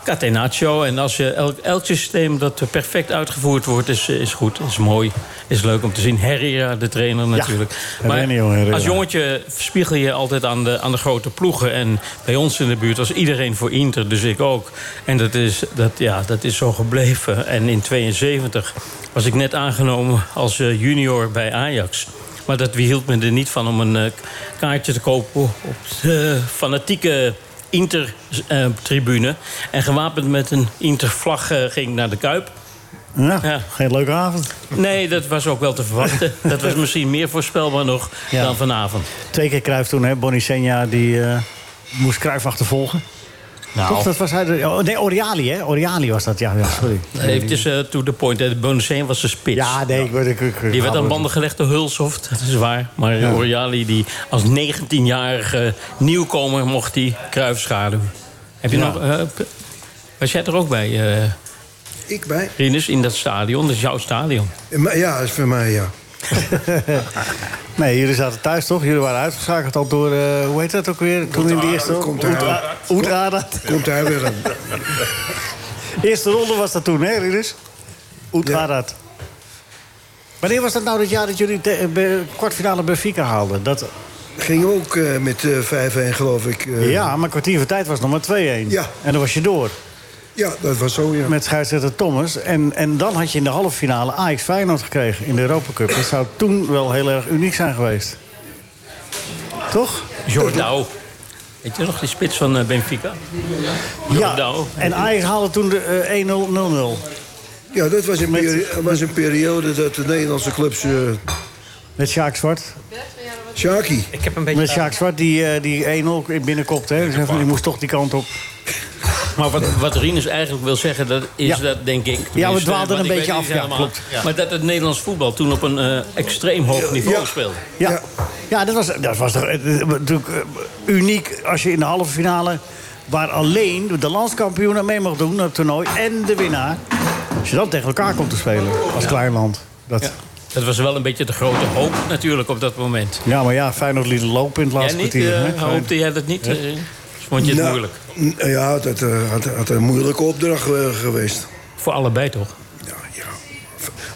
Catenaccio. En als je elk, elk systeem dat er perfect uitgevoerd wordt, is, eh, is goed, is mooi, is leuk om te zien. Herrera, de trainer natuurlijk. Herrera, Herrera. als jongetje spiegel je altijd aan de, aan de grote ploegen. En bij ons in de buurt was iedereen voor Inter, dus ik ook. En dat is, dat, ja, dat is zo gebleven. En in 72 was ik net aangenomen als eh, junior bij Ajax. Maar dat hield me er niet van om een eh, kaartje te kopen op de fanatieke Inter-tribune. en gewapend met een Inter-vlag eh, ging ik naar de Kuip. Ja, Ja. geen leuke avond. Nee, dat was ook wel te verwachten. Dat was misschien meer voorspelbaar nog Ja. dan vanavond. Twee keer Cruijff toen, hè? Bonnie Senja, die eh, moest Cruijff achtervolgen. Nou, Toch, dat was hij... de- oh, nee, Oriali, hè? Oriali was dat, ja, ja sorry. eventjes eh, to the point. hè. De Bonuseen was de spits. Ja, nee, ik word... Ik, ik, Die werd aan banden gelegd door Hulshoft, dat is waar. Maar eh, Oriali, die als 19-jarige nieuwkomer mocht die Cruijff schaduwen. Heb je nog... eh, p- was jij er ook bij, eh Ik bij? Rinus, in dat stadion? Dat is jouw stadion. Maar Ja, is voor mij, ja. Nee, jullie zaten thuis, toch? Jullie waren uitgeschakeld al door... eh, hoe heet dat ook weer? Toen in de eerste... Komt uit. Oetra- Oetrada. Komt daar weer aan. Eerste ronde was dat toen, hè, Rinus? Oetradat. Wanneer was dat nou dat jaar dat jullie de, eh, be- kwartfinale Benfica haalden? Dat, Ging ook eh, met eh 5-1, geloof ik. eh. ja, maar kwartier van tijd was nog maar 2-1. Ja. En dan was je door. Ja, dat was zo, ja. Met scheidsrechter Thomas. En, en dan had je in de halve finale Ajax Feyenoord gekregen in de Europa Cup. Dat zou toen wel heel erg uniek zijn geweest. Toch? Jordao. Weet je nog, die spits van eh, Benfica? Jordao. En Ajax haalde toen de eh, 1-0-0-0. Ja, dat was een, peri- was een periode dat de Nederlandse clubs... eh Met Sjaak Zwart. Sjaki. Ik heb een Met beetje... Sjaak Zwart die, eh, die 1-0 binnenkopte. Hè. Die zei van, die moest toch die kant op. Maar wat, wat Rinus eigenlijk wil zeggen, dat is Ja. dat denk ik. Ja, we tenminste, dwaalden want een ik weet niet beetje af. Ja, helemaal. klopt. Maar dat het Nederlands voetbal toen op een eh, extreem hoog niveau ja. speelde. Ja, ja dat was, dat was toch, eh, natuurlijk eh, uniek als je in de halve finale... waar alleen de landskampioen aan mee mag doen, het toernooi... en de winnaar. Als je dan tegen elkaar komt te spelen als klein land. Dat, ja. Dat was wel een beetje de grote hoop natuurlijk op dat moment. maar ja, Feyenoord liet het lopen in het Jij laatste niet? kwartier. eh, hè? hoopte jij dat niet? eh? vond je het Nou, moeilijk? n- Ja, dat eh, had, had een moeilijke opdracht eh, geweest. Voor allebei toch? Ja, ja.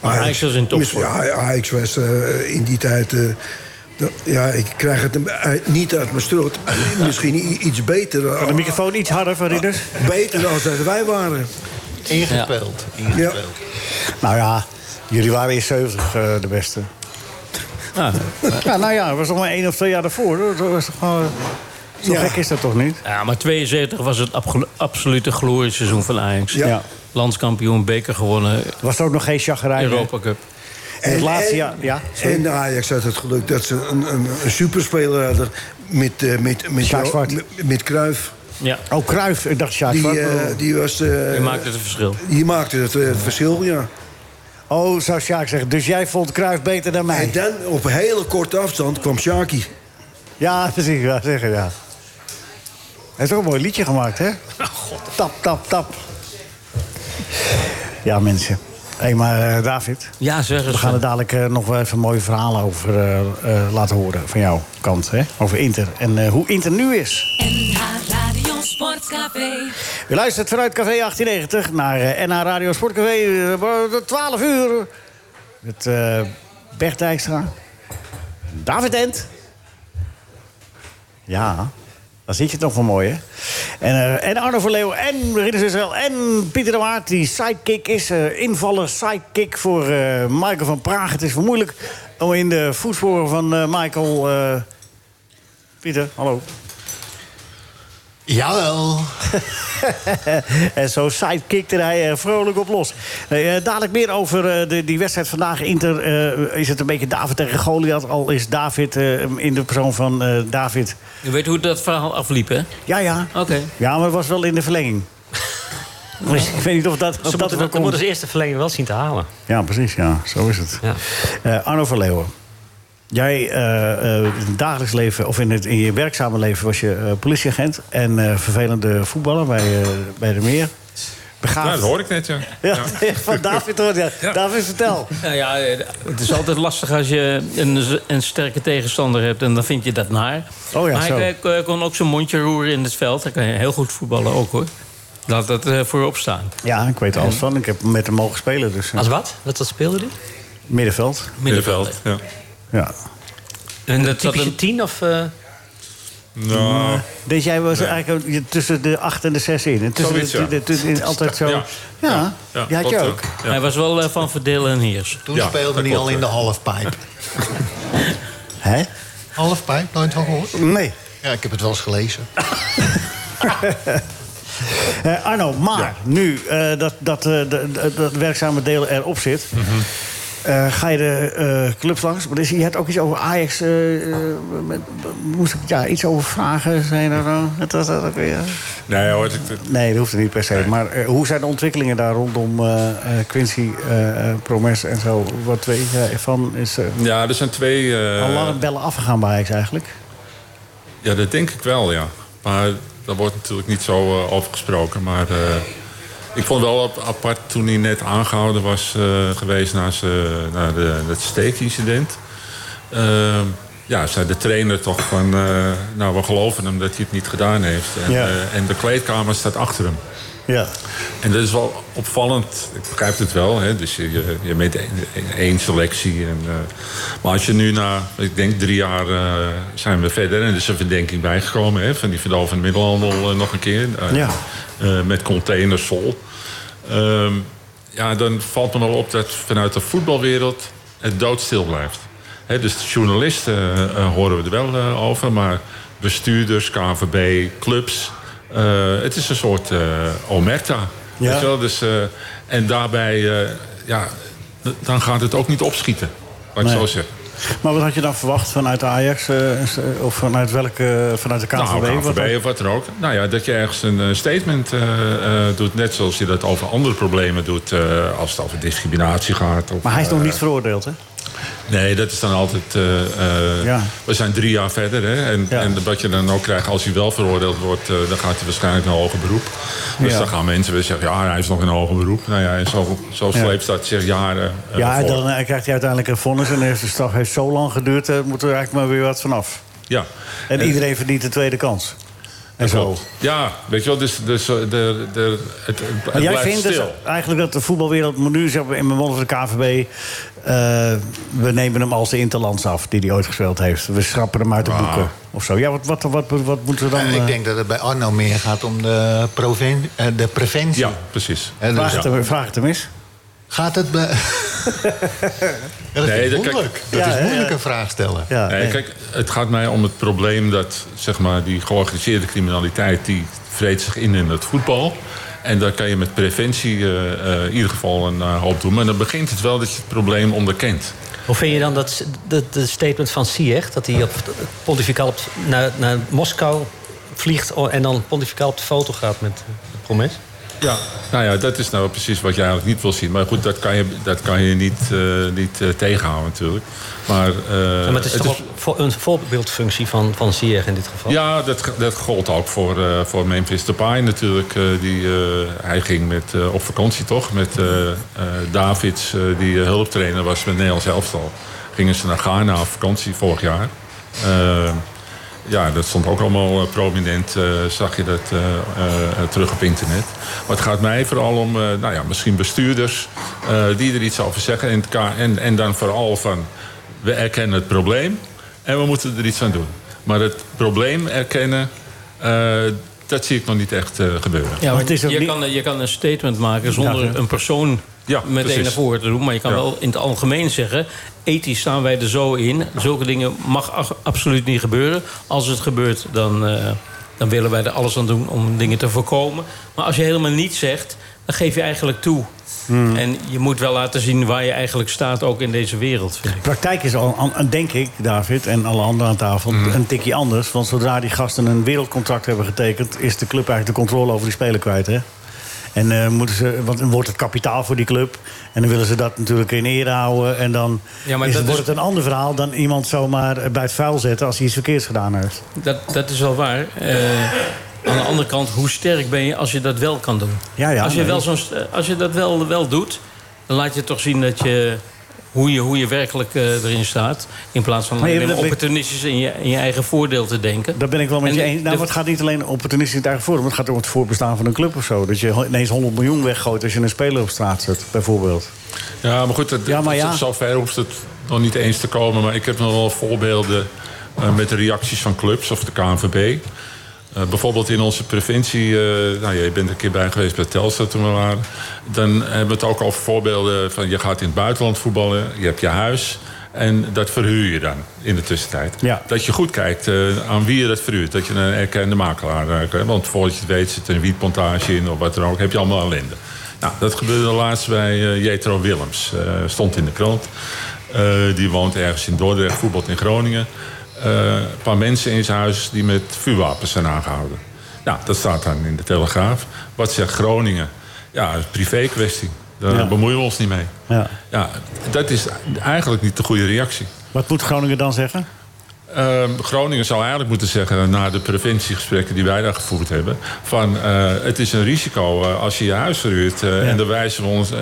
Maar Ajax was in topvorm. Ja, Ajax was eh, in die tijd... eh, dat- ja, ik krijg het een- eh, niet uit mijn strot. Misschien i- iets beter, Kan de dan- microfoon iets harder van Ridders? beter dan dat wij waren. Ingespeeld. ingespeeld. Nou ja, jullie waren in 70 eh, de beste. Ah, Ja, nou ja, dat was nog maar één of twee jaar daarvoor. hoor. Dat was toch gewoon... Zo Ja. gek is dat toch niet? ja, maar 72 was het abgo- absolute glorieseizoen van Ajax. Ja. Landskampioen, beker gewonnen, Was er ook nog geen chagrijn? hè? Europa Cup. En het laatste jaar... Ja, sorry. en Ajax had het geluk dat ze een, een, een superspeler hadden met, eh, met, met, Sjaak Zwart. met, met Cruijff. Ja, Oh, Kruif, ik dacht Sjaak Die, Zwart. oh. eh, die, was, eh, je maakte het verschil. die maakte het, eh, het verschil, ja. Oh, zou Sjaak zeggen. Dus jij vond Kruif beter dan mij? En dan op hele korte afstand kwam Sjaki. Ja, precies. Ja, zeggen, ja. Hij heeft ook een mooi liedje gemaakt, hè? Tap, tap, tap. Ja, mensen. Hé, maar eh, David, Ja, zeg eens. we gaan er dadelijk eh, nog wel even mooie verhalen over eh, eh, laten horen van jouw kant. Hè? Over Inter en eh, hoe Inter nu is. NH Radio Sportcafé. U luistert vanuit Café 1890 naar eh, NH Radio Sportcafé. eh, 12 uur. Met eh Bert Dijkstra. David Ent. Ja, daar zit je toch wel mooi, hè? En, eh, en Arno van Leeuw en Rinus Israël en Pieter de Waard... die sidekick is, eh invaller sidekick voor eh, Michael van Praag. Het is wel moeilijk om in de voetsporen van eh, Michael... eh, Pieter, hallo. Jawel. En zo sidekickte hij er vrolijk op los. Nee, eh, dadelijk meer over eh, de, die wedstrijd vandaag. Inter eh, is het een beetje David tegen Goliath. Al is David eh, in de persoon van eh, David. Je weet hoe dat verhaal afliep, hè? Ja, ja. Oké. Ja, maar het was wel in de verlenging. Dus ik weet niet of dat, of Ze moeten, dat dat, wel ze komt. moeten ze eerst de verlenging wel zien te halen. Ja, precies. Ja, zo is het. Ja. Eh, Arno van Leeuwen. Jij eh, eh, in het dagelijks leven, of in, het, in je werkzame leven, was je eh, politieagent en eh, vervelende voetballer bij, eh, bij de meer. Begaafd. Nou, dat hoor ik net, ja. Ja, van David hoor. Ja. David, vertel. Nou ja, eh, het is altijd lastig als je een, z- een sterke tegenstander hebt en dan vind je dat naar. Oh ja, maar zo. hij kon- eh, kon ook zijn mondje roeren in het veld. Hij kan heel goed voetballen ook hoor. Laat dat eh, voorop staan. Ja, ik weet er alles van. Ik heb met hem mogen spelen, dus eh, Als wat? Wat, wat speelde die? middenveld. Middenveld. Ja. Ja. En dat zat Typische een, tien of... eh, Nou, Dus jij was eigenlijk een- je- tussen de 8 en de 6 in. En tussen Zoiets, de, ja. de- de- de- altijd zo. Ja, Ja. ja, ja, die had je klopt, ook. ja. Hij was wel eh, van verdelen en heers. Toen Ja, speelde dat hij klopt, al in ja. de halfpipe. Hè? halfpipe? Nooit van gehoord? Nee. Ja, ik heb het wel eens gelezen. Eh, Arno, maar nu eh, dat, dat, eh, de- de- dat werkzame deel erop zit... Mhm. eh, ga je de eh, clubs langs? Maar je had ook iets over Ajax. eh, eh, met- moest ik ja, iets over vragen? Zijn er dan? Het was dat ook weer. nee, hoor, ik, Nee, dat hoeft het niet per se. Maar eh, hoe zijn de ontwikkelingen daar rondom eh, eh, Quincy, eh, eh, Promes en zo? Wat weet je ervan? Is eh ja, er zijn twee... eh, al lang bellen afgegaan bij Ajax eigenlijk? Ja, dat denk ik wel, ja. Maar daar wordt natuurlijk niet zo eh, over gesproken. Maar eh, ik vond wel ap- apart toen hij net aangehouden was eh, geweest na, ze, na de, dat steekincident. Eh, ja, zei de trainer toch van, eh, nou we geloven hem dat hij het niet gedaan heeft. En, Ja. eh, en de kleedkamer staat achter hem. Ja. En dat is wel opvallend. Ik begrijp het wel. Hè? Dus je, je, je meet één- één selectie. En, eh, maar als je nu na, ik denk drie jaar eh, zijn we verder. En er is een verdenking bijgekomen hè, van die verdal van de middelhandel eh, nog een keer. Eh, Ja. eh, met containers vol. Ehm, ja, dan valt me nog op dat vanuit de voetbalwereld het doodstil blijft. Hè, dus de journalisten eh, eh, horen we er wel eh, over, maar bestuurders, KNVB, clubs. eh, het is een soort eh, omerta. Ja. Weet je wel? Dus, eh, en daarbij, eh, ja, d- dan gaat het ook niet opschieten. Laat ik Nee. zo zeggen. Maar wat had je dan verwacht vanuit Ajax? eh, of vanuit welke? Vanuit de KNVB? Nou, Wat KNVB of wat dan ook. Nou ja, dat je ergens een eh, statement eh, eh, doet. Net zoals je dat over andere problemen doet. eh, als het over discriminatie gaat. Of, Maar hij is nog eh, niet veroordeeld, hè? Nee, dat is dan altijd... eh, eh, Ja. We zijn drie jaar verder. Hè? En, Ja. en wat je dan ook krijgt als hij wel veroordeeld wordt... eh, dan gaat hij waarschijnlijk naar hoger beroep. Dus Ja. dan gaan mensen weer zeggen... ja, hij is nog in hoger beroep. Nou ja, en zo, zo Ja. sleept dat zich jaren eh, ja, voort. dan eh, krijgt hij uiteindelijk een vonnis. En de eerste straf heeft zo lang geduurd, daar moet er eigenlijk maar weer wat vanaf. Ja. En iedereen verdient een tweede kans. En zo. Klopt. Ja, weet je wel, dus, dus eh, de, de, het, het Maar jij blijft vindt dus stil. eigenlijk dat de voetbalwereld moet nu zeg maar, in mijn mond van de KVB. eh, we nemen hem als de Interlands af die hij ooit gespeeld heeft. We schrappen hem uit de Ah. boeken of zo. Ja, wat, wat, wat, wat, moeten we dan. Eh, eh, ik denk dat het bij Arno meer gaat om de, proven- eh, de preventie. Ja, precies. Hè, dus- vraag, het hem, vraag het hem eens. Gaat het bij... Ja, dat Nee, nee, dat- dat, moeilijk. kijk, dat ja, is hè, moeilijk ja. een vraag stellen. Ja, Nee, nee. Eh, kijk, het gaat mij om het probleem dat zeg maar, die georganiseerde criminaliteit... die vreet zich in in het voetbal. En daar kan je met preventie eh, eh, in ieder geval een eh, hoop doen. Maar dan begint het wel dat je het probleem onderkent. Hoe vind je dan dat, dat, dat statement van Sieg... dat hij op, pontificaal op- naar, naar Moskou vliegt... o- en dan pontificaal op de foto gaat met de Eh, promes? Ja. Nou ja, dat is nou precies wat je eigenlijk niet wil zien. Maar goed, dat kan je, dat kan je niet, eh, niet eh, tegenhouden natuurlijk. Maar, eh, Ja, maar het is het toch is- ook voor- een voorbeeldfunctie van, van Sieg in dit geval? Ja, dat, ge- dat gold ook voor, eh, voor Memphis Depay natuurlijk. eh, die, eh, hij ging met, eh, op vakantie toch met eh, eh, Davids, eh, die eh, hulptrainer was met Nederlands elftal. Gingen ze naar Ghana op vakantie vorig jaar. Eh, ja, dat stond ook allemaal eh, prominent, eh, zag je dat eh, eh, eh, terug op internet. Maar het gaat mij vooral om, eh, nou ja, misschien bestuurders eh, die er iets over zeggen. En, het ka- en, en dan vooral van, we erkennen het probleem en we moeten er iets aan doen. Maar het probleem erkennen, eh, dat zie ik nog niet echt eh, gebeuren. Ja, maar het is ook je, niet- kan, je kan een statement maken zonder Ja, ja. een persoon Ja, meteen precies. naar voren te doen. Maar je kan Ja. wel in het algemeen zeggen... ethisch staan wij er zo in. Zulke dingen mag ach- absoluut niet gebeuren. Als het gebeurt, dan, eh, dan willen wij er alles aan doen om dingen te voorkomen. Maar als je helemaal niets zegt, dan geef je eigenlijk toe. Hmm. En je moet wel laten zien waar je eigenlijk staat, ook in deze wereld, vind ik. praktijk is al, an- an- denk ik, David en alle anderen aan tafel, Mhm. een tikje anders. Want zodra die gasten een wereldcontract hebben getekend, is de club eigenlijk de controle over die speler kwijt. Hè? En eh, moeten ze, want dan wordt het kapitaal voor die club. En dan willen ze dat natuurlijk in ere houden. En dan Ja, maar is, dat wordt is- het een ander verhaal dan iemand zomaar eh, bij het vuil zetten als hij iets verkeerds gedaan heeft. Dat, dat is wel waar. Eh, aan de andere kant, hoe sterk ben je als je dat wel kan doen? Ja, ja, als, je nee. wel zo'n, eh, als je dat wel, wel doet, dan laat je toch zien dat je, hoe, je, hoe je werkelijk eh, erin staat. In plaats van Maar je- alleen maar dat- opportunistisch in je, in je eigen voordeel te denken. Daar ben ik wel met En je de- eens. de- Nou, maar het gaat niet alleen opportunistisch in het eigen voordeel. maar Het gaat ook om het voorbestaan van een club of zo. Dat je ineens 100 miljoen weggooit als je een speler op straat zet, bijvoorbeeld. Ja, maar goed, dat, Ja, maar dat- ja. zo ver hoeft het nog niet eens te komen. Maar ik heb nog wel voorbeelden eh, met de reacties van clubs of de KNVB. Eh, bijvoorbeeld in onze provincie, eh, nou, je bent er een keer bij geweest bij Telstar toen we waren. Dan hebben we het ook over voorbeelden van je gaat in het buitenland voetballen, je hebt je huis. En dat verhuur je dan in de tussentijd. Ja. Dat je goed kijkt eh, aan wie je dat verhuurt. Dat je een erkende makelaar eh, krijgt. Want voordat je het weet zit er een wietplantage in of wat dan ook. Heb je allemaal ellende. Nou, dat gebeurde laatst bij eh, Jetro Willems. Eh, stond in de krant. Eh, die woont ergens in Dordrecht, voetbalt in Groningen. Eh, een paar mensen in zijn huis die met vuurwapens zijn aangehouden. Nou, dat staat dan in de Telegraaf. Wat zegt Groningen? Ja, een privé kwestie. Daar Ja. bemoeien we ons niet mee. Ja. Ja, dat is eigenlijk niet de goede reactie. Wat moet Groningen dan zeggen? Ehm, Groningen zou eigenlijk moeten zeggen, na de preventiegesprekken die wij daar gevoerd hebben, van eh, het is een risico eh, als je je huis verhuurt eh, en daar wijzen we ons, eh,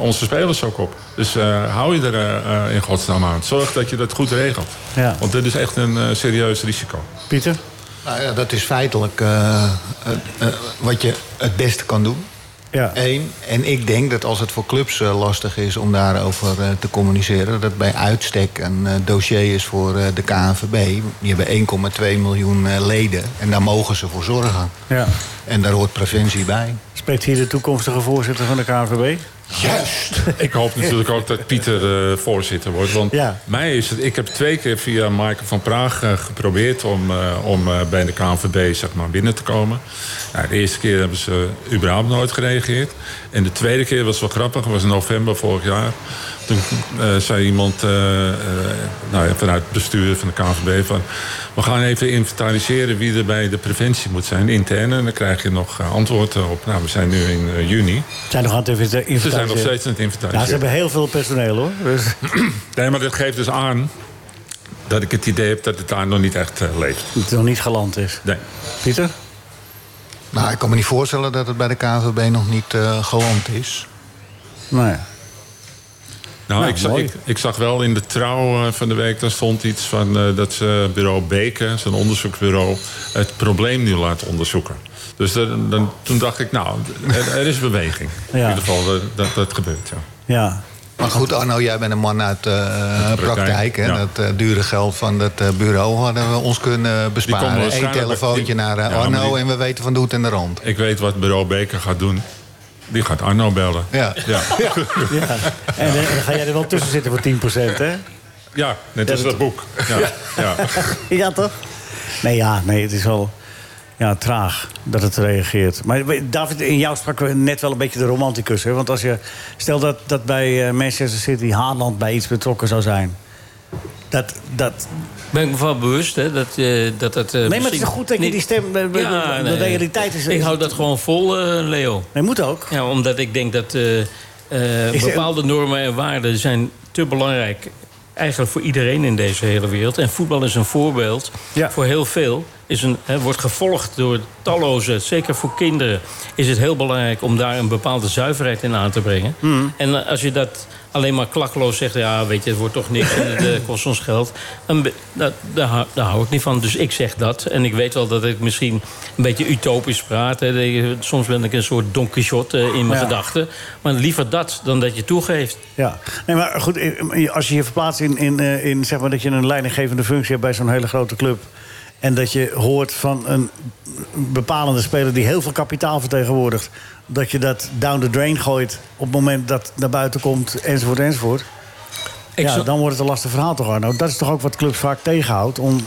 onze spelers ook op. Dus eh, hou je er eh, eh, in godsnaam aan. Zorg dat je dat goed regelt. Ja. Want dit is echt een eh, serieus risico. Pieter? Nou ja, dat is feitelijk eh, eh, eh, wat je het beste kan doen. Ja. Eén. En ik denk dat als het voor clubs eh, lastig is om daarover eh, te communiceren... dat bij uitstek een eh, dossier is voor eh, de KNVB. Die hebben 1,2 miljoen eh, leden en daar mogen ze voor zorgen. Ja. En daar hoort preventie bij. Spreekt hier de toekomstige voorzitter van de KNVB? Juist! Ik hoop natuurlijk ook dat Pieter eh, voorzitter wordt. Want Ja. mij is het, ik heb twee keer via Michael van Praag eh, geprobeerd om, eh, om eh, bij de KNVB zeg maar, binnen te komen. Nou, de eerste keer hebben ze überhaupt nooit gereageerd. En de tweede keer was wel grappig, was in november vorig jaar. Toen eh, zei iemand eh, eh, nou ja, vanuit het bestuur van de KNVB van... we gaan even inventariseren wie er bij de preventie moet zijn, intern. En dan krijg je nog eh, antwoord op. Nou, we zijn nu in eh, juni. Zijn nog aan het invita- inventariseren. Ze zijn nog steeds aan het inventariseren. Ja, Nou, ze hebben heel veel personeel hoor. Dus, Nee, maar dat geeft dus aan dat ik het idee heb dat het daar nog niet echt eh, leeft. het nog niet geland is. Nee. Pieter? Nou, ik kan me niet voorstellen dat het bij de KNVB nog niet eh geland is. Nou ja. Nou, Nou, ik, zag, mooi. ik, ik zag wel in de trouw eh, van de week, daar stond iets van eh, dat ze bureau Beken, zo'n onderzoeksbureau, het probleem nu laat onderzoeken. Dus dan, dan- toen dacht ik, nou, er, er is beweging. In Ja. ieder geval, eh, dat, dat gebeurt. Ja. ja. Maar goed, Arno, jij bent een man uit de praktijk. hè? ja. Dat eh, dure geld van dat eh, bureau hadden we ons kunnen komen besparen. Eén waarschijnlijk- telefoontje die- naar eh, Ja, maar Arno die- en we weten van de hoed en de rand. Ik weet wat bureau Beken gaat doen. Die gaat Arno bellen. Ja. Ja, ja. ja. En dan, dan ga jij er wel tussen zitten voor 10%, hè? net als dat boek. Ja. Ja. Ja, toch? Nee, ja, nee, het is wel ja, traag dat het reageert. Maar we- David, in jou sprak we net wel een beetje de romanticus. Hè? Want als je, stel dat, dat bij eh, Manchester City Haaland bij iets betrokken zou zijn. Dat, dat, Ben ik me van bewust, hè, dat, eh, dat dat... eh, nee, maar het is misschien- goed dat je Nee. die stem... eh, Ja, de nee. realiteit is... Ik hou dat gewoon vol, eh, Leo. Nee, moet ook. Ja, omdat ik denk dat eh, eh, zeg- bepaalde normen en waarden zijn te belangrijk... eigenlijk voor iedereen in deze hele wereld. En voetbal is een voorbeeld Ja. voor heel veel. Is een, hè, wordt gevolgd door talloze, zeker voor kinderen... is het heel belangrijk om daar een bepaalde zuiverheid in aan te brengen. Hmm. En eh, als je dat alleen maar klakkeloos zegt... ja, weet je, het wordt toch niks en het eh, kost ons geld... Dan, be- dat, daar, hou- daar hou ik niet van. Dus ik zeg dat. En ik weet wel dat ik misschien een beetje utopisch praat. Hè. Dat- Soms ben ik een soort Don Quixote eh, in mijn Ja. gedachten. Maar liever dat dan dat je toegeeft. Ja, nee, maar goed, eh, als je je verplaatst in, in, eh, in zeg maar dat je een leidinggevende functie hebt bij zo'n hele grote club. En dat je hoort van een bepalende speler die heel veel kapitaal vertegenwoordigt. Dat je dat down the drain gooit op het moment dat het naar buiten komt, enzovoort, enzovoort. Ik ja, zou- dan wordt het een lastig verhaal toch, Arno? Dat is toch ook wat clubs vaak tegenhoudt. Om...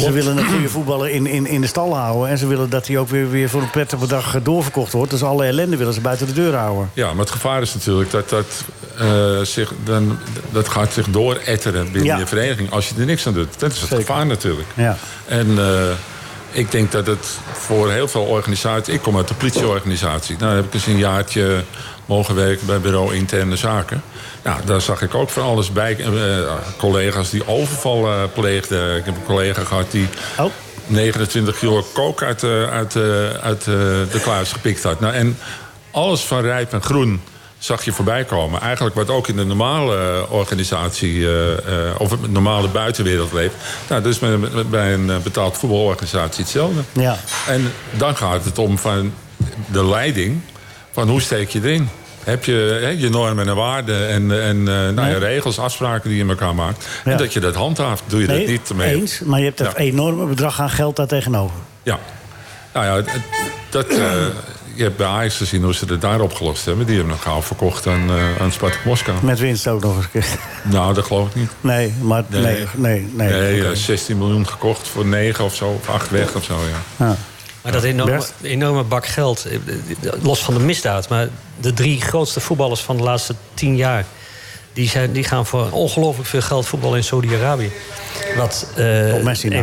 Ze willen een goede voetballer in, in, in de stal houden. En ze willen dat hij ook weer, weer voor een pret op een dag eh, doorverkocht wordt. Dus alle ellende willen ze buiten de deur houden. Ja, maar het gevaar is natuurlijk dat dat, eh, zich, dan, dat gaat zich dooretteren binnen Ja. je vereniging als je er niks aan doet. Dat is het Zeker. gevaar natuurlijk. Ja. En eh, ik denk dat het voor heel veel organisaties... Ik kom uit de politieorganisatie. Nou, daar heb ik eens een jaartje mogen werken bij bureau Interne Zaken. Nou, daar zag ik ook van alles bij. Eh, collega's die overvallen pleegden. Ik heb een collega gehad die Oh. 29 kilo kook uit, de- uit, de- uit de de kluis gepikt had. Nou, en alles van rijp en groen zag je voorbij komen. Eigenlijk wat ook in de normale eh, organisatie... eh, eh, of de normale buitenwereld leeft. Nou, dat is bij, bij een eh, betaald voetbalorganisatie hetzelfde. Ja. En dan gaat het om van de leiding. Van hoe steek je erin? Heb je hè, je normen en waarden en, en eh, nou ja, regels, afspraken die je met elkaar maakt. Ja. En dat je dat handhaaft, doe je Nee, dat niet mee. eens, maar je hebt dat Ja. enorme bedrag aan geld daar tegenover. Ja. Nou ja, het- het- dat, eh, je hebt bij Ajax gezien hoe ze het daar opgelost hebben. Die hebben nog gauw verkocht aan, eh, aan Spartak Moskou. Met winst ook nog eens. een keer. Nou, dat geloof ik niet. Nee, maar nee, nee, nee. Nee, Oké. eh, 16 miljoen gekocht voor 9 of zo, of 8 weg of zo, ja. Ja. Maar dat enorme, Bert? enorme bak geld, eh, los van de misdaad... maar de drie grootste voetballers van de laatste tien jaar... die, zijn, die gaan voor ongelooflijk veel geld voetballen in Saudi-Arabië. Wat... eh, Op Messi na.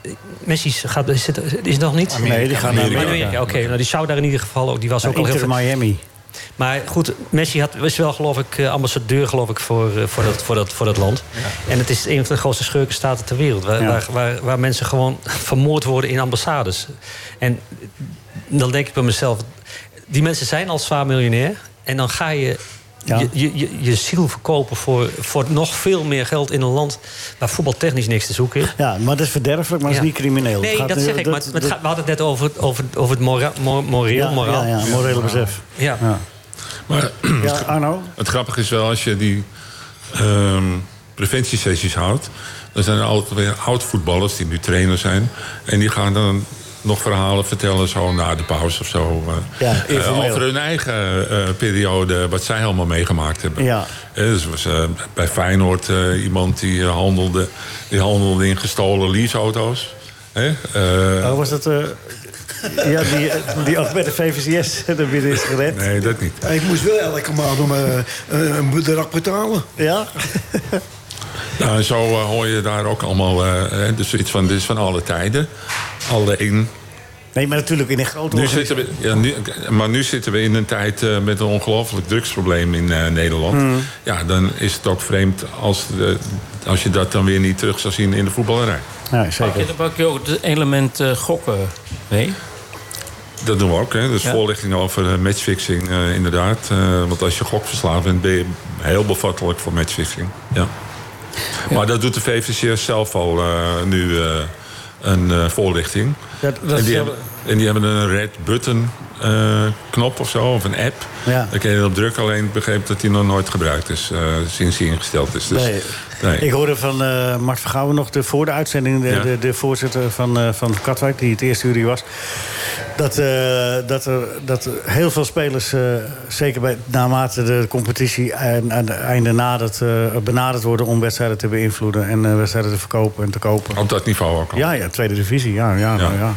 eh, Messi gaat, is, het, is het nog niet? Ah, Nee, die gaan naar Maar Amerika. Amerika, Oké, nou die zou daar in ieder geval ook... Die was ook al heel Nou, Inter veel... Miami. Maar goed, Messi had, was wel geloof ik eh, ambassadeur geloof ik, voor, eh, voor, dat, voor, dat, voor dat land. En het is een van de grootste schurkenstaten ter wereld. Waar, Ja. waar, waar, waar mensen gewoon vermoord worden in ambassades. En dan denk ik bij mezelf, die mensen zijn al zwaar miljonair. En dan ga je je, je, je, je ziel verkopen voor, voor nog veel meer geld in een land waar voetbaltechnisch niks te zoeken is. Ja, maar dat is verderfelijk, maar dat is Ja. niet crimineel. Het Nee, gaat dat nu- zeg ik. Maar het- het gaat- we hadden het net over, het- over, het- over het mora- mor- moreel. Ja, moraal. ja, ja, morele besef. Ja. Maar Ja, ah. Arno? het grappige is wel, als je die ehm, preventiesessies houdt... dan zijn er altijd weer oud-voetballers die nu trainer zijn... en die gaan dan nog verhalen vertellen, zo na de pauze of zo. eh, Ja, eh, informeel. over hun eigen eh, periode, wat zij allemaal meegemaakt hebben. Ja. Eh, dus was eh, bij Feyenoord eh, iemand die eh, handelde, die handelde in gestolen leaseauto's. Hè? Eh, Oh, was dat... eh, ja, die, die ook bij de VVCS er binnen is gered. nee, dat niet. Ja, ik moest wel elke maand om eh, eh, een bedrag betalen. Ja? Nou, en zo eh, hoor je daar ook allemaal... eh, eh, dus iets van, dit is van alle tijden. Alleen, Nee, maar natuurlijk in een grote nu organisatie. zitten we, ja, nu, maar nu zitten we in een tijd eh, met een ongelooflijk drugsprobleem in eh, Nederland. Ja, dan is het ook vreemd als, de- als je dat dan weer niet terug zou zien in de voetballerij. Ja, zeker. Dan pak je ook het element eh, gokken mee. Dat doen we ook, hè. Dus Ja. voorlichting over eh, matchfixing, eh, inderdaad. Eh, want als je gokverslaafd bent, ben je heel bevattelijk voor matchfixing. Ja. Maar dat doet de VVCS zelf al eh, nu eh, een eh, voorlichting. Dat- dat en, die is- hebben, en die hebben een red button eh, knop of zo, of een app. Ja. Daar kun je op drukken, alleen ik begreep dat die nog nooit gebruikt is eh, sinds die ingesteld is. Dus, Nee. Ik hoorde van eh Mart Vergouwen nog de, voor de uitzending, de, Ja. de, de voorzitter van, eh, van Katwijk, die het eerste uur hier was. Dat, eh, dat, er, dat er heel veel spelers, eh, zeker bij, naarmate de competitie aan, aan het einde nadert, eh, benaderd worden om wedstrijden te beïnvloeden en eh, wedstrijden te verkopen en te kopen. Op dat niveau ook al. Ja, ja, tweede divisie, ja, ja, ja. Ja. ja.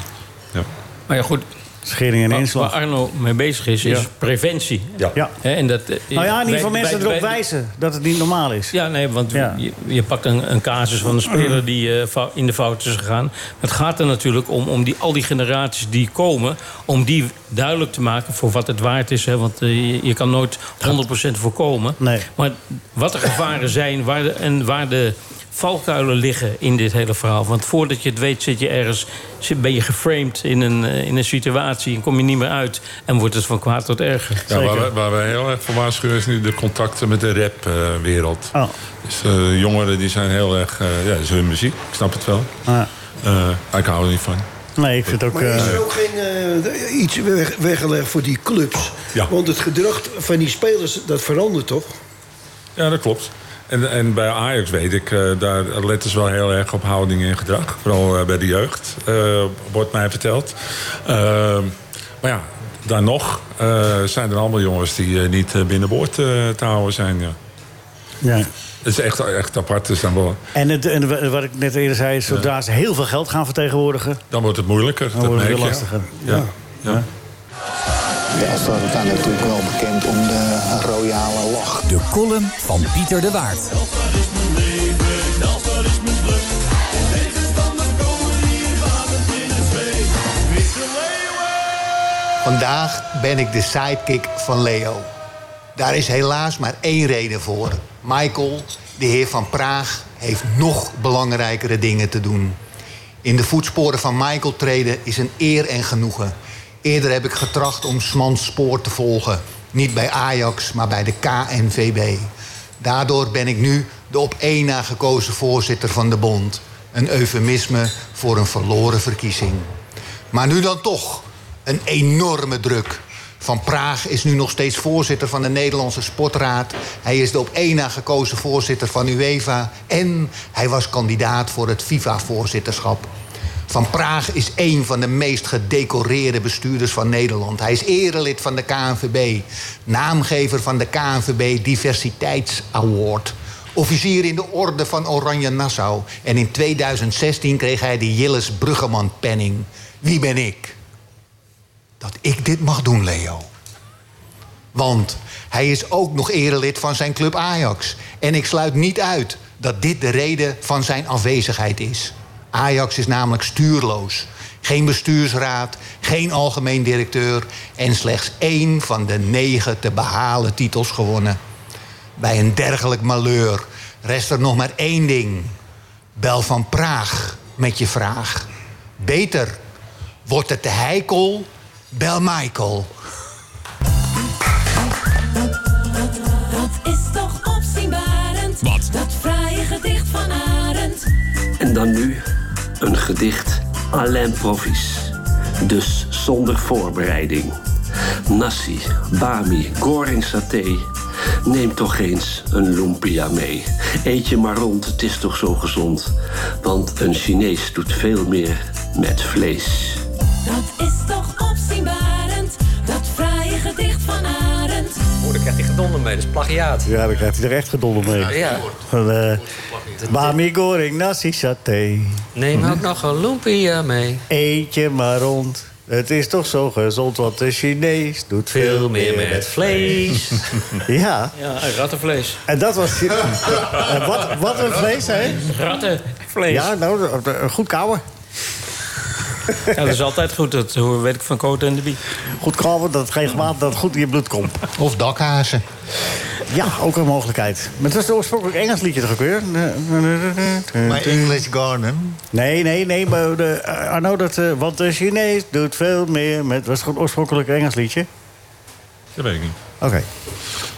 Ja. Maar ja, goed, Schering en waar, waar inslag. Arno mee bezig is, is Ja. preventie. Ja. Hè, en dat, eh, Nou ja, in ieder geval wij- mensen wij- erop wij- wijzen dat het niet normaal is. Ja, nee, want Ja. Je, je pakt een, een casus van een speler die eh, fou- in de fout is gegaan. Het gaat er natuurlijk om, om die, al die generaties die komen... om die duidelijk te maken voor wat het waard is. Hè, want eh, je, je kan nooit 100% voorkomen. Nee. Maar wat de gevaren zijn waar de, en waar de valkuilen liggen in dit hele verhaal. Want voordat je het weet zit je ergens, zit- ben je geframed in een, eh, in een situatie... en kom je niet meer uit en wordt het van kwaad tot erger. Ja, waar, we, waar we heel erg voor waarschuwen is nu de contacten met de rapwereld. Oh. Dus eh, jongeren die zijn heel erg... eh ja, dat is hun muziek, ik snap het wel. Ja. Eh, ik hou er niet van. Nee, ik vind het ook... Maar is eh, er ook geen eh, iets weg- weggelegd voor die clubs? Ja. Want het gedrag van die spelers, dat verandert toch? Ja, dat klopt. En, en bij Ajax weet ik, eh, daar letten ze wel heel erg op houding en gedrag. Vooral eh, bij de jeugd, eh, wordt mij verteld. Ehm, maar ja, dan nog eh, zijn er allemaal jongens die eh, niet eh, binnenboord eh, te houden zijn. Ja. ja. Het is echt, echt apart. Dus dan, wel- En, het, en wa- wat ik net eerder zei, is zodra ze heel veel geld gaan vertegenwoordigen, dan wordt het moeilijker. dan wordt het merk weer je. lastiger. Ja. ja. Wel staat het daar natuurlijk wel bekend om de royale lach. De column van Pieter de Waard. Vandaag ben ik de sidekick van Leo. Daar is helaas maar één reden voor. Michael, de heer van Praag, heeft nog belangrijkere dingen te doen. In de voetsporen van Michael treden is een eer en genoegen. Eerder heb ik getracht om Smans spoor te volgen. Niet bij Ajax, maar bij de KNVB. Daardoor ben ik nu de op één na gekozen voorzitter van de bond. Een eufemisme voor een verloren verkiezing. Maar nu dan toch een enorme druk. Van Praag is nu nog steeds voorzitter van de Nederlandse Sportraad. Hij is de op één na gekozen voorzitter van UEFA. En hij was kandidaat voor het FIFA-voorzitterschap. Van Praag is één van de meest gedecoreerde bestuurders van Nederland. Hij is erelid van de KNVB, naamgever van de KNVB Diversiteits Award. Officier in de Orde van Oranje Nassau. En in 2016 kreeg hij de Jilles Bruggeman-penning. Wie ben ik? Dat ik dit mag doen, Leo. Want hij is ook nog erelid van zijn club Ajax. En ik sluit niet uit dat dit de reden van zijn afwezigheid is. Ajax is namelijk stuurloos. Geen bestuursraad, geen algemeen directeur... en slechts één van de negen te behalen titels gewonnen. Bij een dergelijk malheur rest er nog maar één ding. Bel van Praag met je vraag. Beter wordt het de heikel, bel Michael. dan nu een gedicht à l'improvis. Dus zonder voorbereiding. Nasi, bami, goring saté. Neem toch eens een lumpia mee. Eet je maar rond, het is toch zo gezond. Want een Chinees doet veel meer met vlees. Dat is toch opzienbarend, dat fraaie gedicht van Arend. Oh, daar krijgt hij gedonder mee, dat is plagiaat. Ja, dan krijgt hij er echt gedonder mee. Ja. Van, eh, Bami goreng nasi saté. Neem ook nog een lumpia mee. Eet je maar rond. Het is toch zo gezond, want de Chinees doet veel meer met vlees. ja. Ja, rattenvlees. En dat was... Eh, wat, wat een vlees, hè? Rattenvlees. Ja, nou, eh, goed kouwen. Ja, dat is altijd goed. Dat hoor- weet ik van Cote en de Bie. Goed kouwen, dat het regelmatig dat het goed in je bloed komt. Of dakhazen. Ja, ook een mogelijkheid. Maar het was een oorspronkelijk Engels liedje toch ook weer? My English Garden. Nee, nee, nee, maar de, eh, Arno, dat, eh, want de Chinees doet veel meer met... Was het gewoon oorspronkelijk een Engels liedje? Dat weet ik niet. Oké.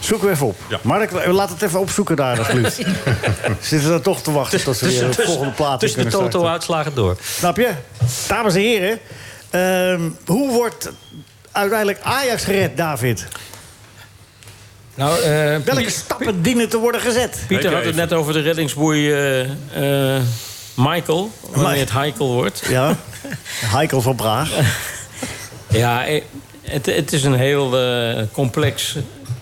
Zoeken we even op. Mark, eh, laat het even opzoeken daar, alsjeblieft. Zitten dan toch te wachten tot ze weer de volgende plaat tussen de kunnen starten. toto-uitslagen door. Snap je? Dames en heren, ehm, hoe wordt uiteindelijk Ajax gered, David? Nou, eh, Welke stappen dienen te worden gezet? Pieter had het net over de reddingsboei eh, eh, Michael. Wanneer het Heikel wordt. Ja, Heikel van Praag. Ja, eh, het, het is een heel eh, complex,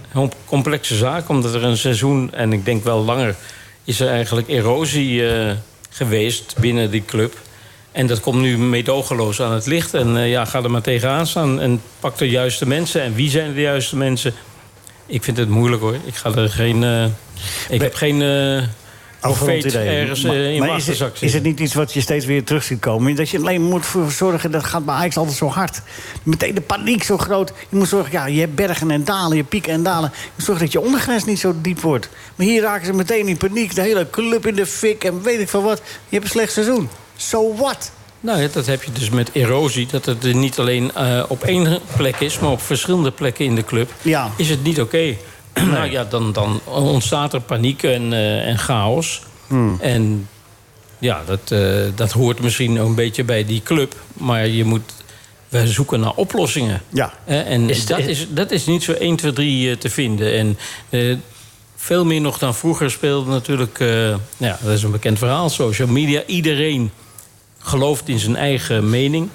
heel complexe zaak. Omdat er een seizoen, en ik denk wel langer... is er eigenlijk erosie eh, geweest binnen die club. En dat komt nu meedogenloos aan het licht. En eh, ja, ga er maar tegenaan staan. En pak de juiste mensen. En wie zijn de juiste mensen? Ik vind het moeilijk hoor. Ik ga er geen... eh, ik heb geen... eh Arrogant profeet idee. ergens eh, in mijn maar is, achterzak het, zitten. is het niet iets wat je steeds weer terug ziet komen? Dat je alleen moet voor zorgen, dat gaat bij Ajax altijd zo hard. Meteen de paniek zo groot. Je moet zorgen, ja, je hebt bergen en dalen, je pieken en dalen. Je moet zorgen dat je ondergrens niet zo diep wordt. Maar hier raken ze meteen in paniek. De hele club in de fik en weet ik van wat. Je hebt een slecht seizoen. So what? Nou ja, dat heb je dus met erosie. Dat het er niet alleen eh, op één plek is, maar op verschillende plekken in de club. Ja. Is het niet oké? nou ja, dan, dan ontstaat er paniek en, eh, en chaos. Hmm. En ja, dat, eh, dat hoort misschien een beetje bij die club. Maar je moet. Wij zoeken naar oplossingen. Ja. Hè, En Is dat, dat- is, dat is niet zo 1, 2, 3 eh, te vinden. En eh, veel meer nog dan vroeger speelde natuurlijk... eh, nou ja, dat is een bekend verhaal, social media. Iedereen gelooft in zijn eigen mening.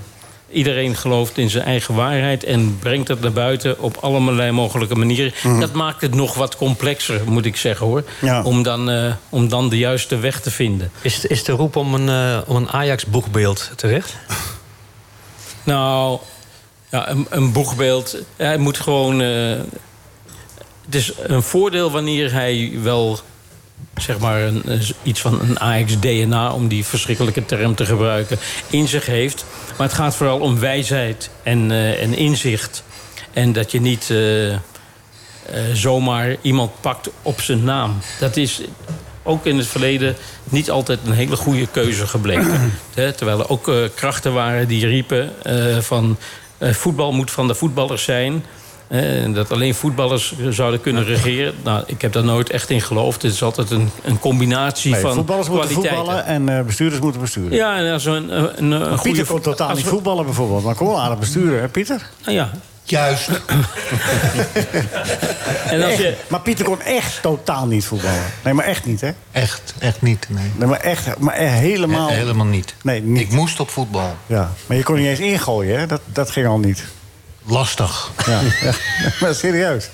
Iedereen gelooft in zijn eigen waarheid en brengt dat naar buiten op allerlei mogelijke manieren. Dat maakt het nog wat complexer, moet ik zeggen hoor. Ja. Om, dan, eh, om dan de juiste weg te vinden. Is, is de roep om een, eh, om een Ajax-boegbeeld terecht? Nou, ja, een, een boegbeeld. Hij moet gewoon. eh, het is een voordeel wanneer hij wel. Zeg maar een, een- iets van een AX-DNA, om die verschrikkelijke term te gebruiken, in zich heeft. Maar het gaat vooral om wijsheid en, eh, en inzicht. En dat je niet eh, eh, zomaar iemand pakt op zijn naam. Dat is ook in het verleden niet altijd een hele goede keuze gebleken. Hè, terwijl er ook eh, krachten waren die riepen eh, van eh, voetbal moet van de voetballers zijn. Eh, en dat alleen voetballers zouden kunnen regeren. Nou, ik heb daar nooit echt in geloofd. Het is altijd een, een combinatie Nee, van voetballers moeten kwaliteiten. voetballen en eh, bestuurders moeten besturen. Ja, en als we een, een, een Maar goede Pieter vo- kon totaal als niet we- voetballen bijvoorbeeld. Maar kom wel aardig besturen, hè Pieter? Nou ja. Juist. en als je, Maar Pieter kon echt totaal niet voetballen. Nee, maar echt niet, hè? Echt, echt niet. Nee. Nee, maar echt, maar echt helemaal... He- helemaal niet. Nee, niet. Ik moest op voetbal. Ja, maar je kon niet eens ingooien, hè? Dat, dat ging al niet. Lastig. Ja, ja. maar serieus.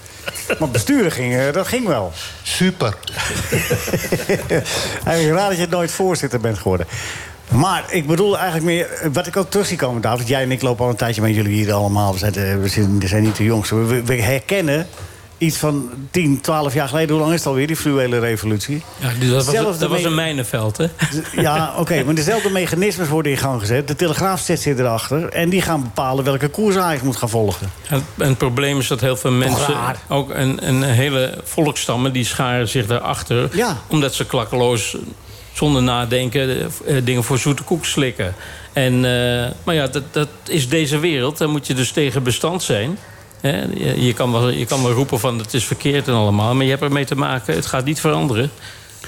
Maar besturen ging, eh, dat ging wel. Super. eigenlijk raar dat je nooit voorzitter bent geworden. Maar ik bedoel eigenlijk meer, eh, wat ik ook terug zie komen, David. Jij en ik lopen al een tijdje met jullie hier allemaal. We zijn, eh, we zijn, we zijn niet de jongste. We, we herkennen iets van 10, 12 jaar geleden. Hoe lang is het alweer, die fluwele revolutie? ja, dus dat, was, Zelfde dat was me- een mijnenveld, hè? Ja, oké, maar dezelfde mechanismes worden in gang gezet. De Telegraaf zet zich erachter. En die gaan bepalen welke koers Ajax moet gaan volgen. En het probleem is dat heel veel mensen, raar. ook een, een hele volkstammen, die scharen zich daarachter. Omdat ze klakkeloos, zonder nadenken, eh, dingen voor zoete koek slikken. En, eh, maar ja, dat, dat is deze wereld. Daar moet je dus tegen bestand zijn. Hè, Je, je, kan wel, je kan wel roepen van het is verkeerd en allemaal. Maar je hebt ermee te maken, het gaat niet veranderen.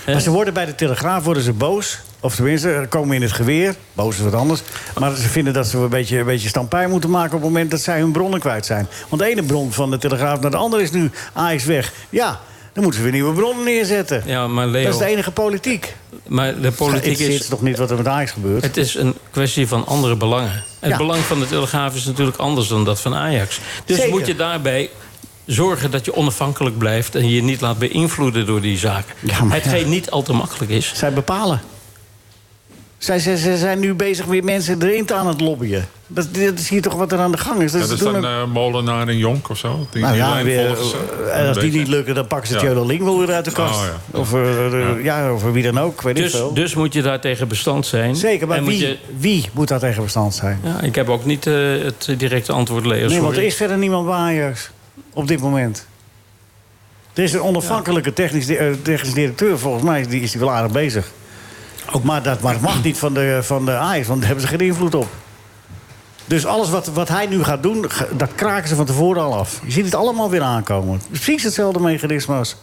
Maar ze worden bij de Telegraaf worden ze boos. Of tenminste, er komen in het geweer. Boos is wat anders. Maar ze vinden dat ze een beetje, een beetje stampij moeten maken... op het moment dat zij hun bronnen kwijt zijn. Want de ene bron van de Telegraaf naar de andere is nu Ajax weg. Ja, dan moeten ze weer nieuwe bronnen neerzetten. Ja, maar Leo, Dat is de e- enige politiek. maar de politiek Het is... is toch niet wat er met Ajax gebeurt? Het is een kwestie van andere belangen. Het Ja. belang van de Telegraaf is natuurlijk anders dan dat van Ajax. Dus Zeker. moet je daarbij zorgen dat je onafhankelijk blijft... en je niet laat beïnvloeden door die zaken. Hetgeen niet al te makkelijk is. Zij bepalen. Zij, zij, zij zijn nu bezig weer mensen erin te aan het lobbyen. Dat, dat is hier toch wat er aan de gang is. Dat, Dat Dus ze is doen dan ook- eh, Molenaar en Jonk of zo? Die, nou die ja, lijn weer, volgen ze. eh, en als die Een niet beetje. lukken, dan pakken ze Ja. Theodor Ling wel weer uit de kast. Oh, Of, eh, eh, ja. of wie dan ook, weet ik Dus, veel. dus moet je daar tegen bestand zijn. Zeker, maar En wie, moet je- wie moet daar tegen bestand zijn? ja, ik heb ook niet eh, het directe antwoord, Leo. nee, sorry. want er is verder niemand bij Ajax op dit moment. Er is een onafhankelijke technisch, di- eh, technisch directeur, volgens mij is die, is die wel aardig bezig. Ook maar dat maar dat mag niet van de, van de Ajax, want daar hebben ze geen invloed op. Dus alles wat, wat hij nu gaat doen, ge- dat kraken ze van tevoren al af. Je ziet het allemaal weer aankomen. Precies hetzelfde mechanisme als,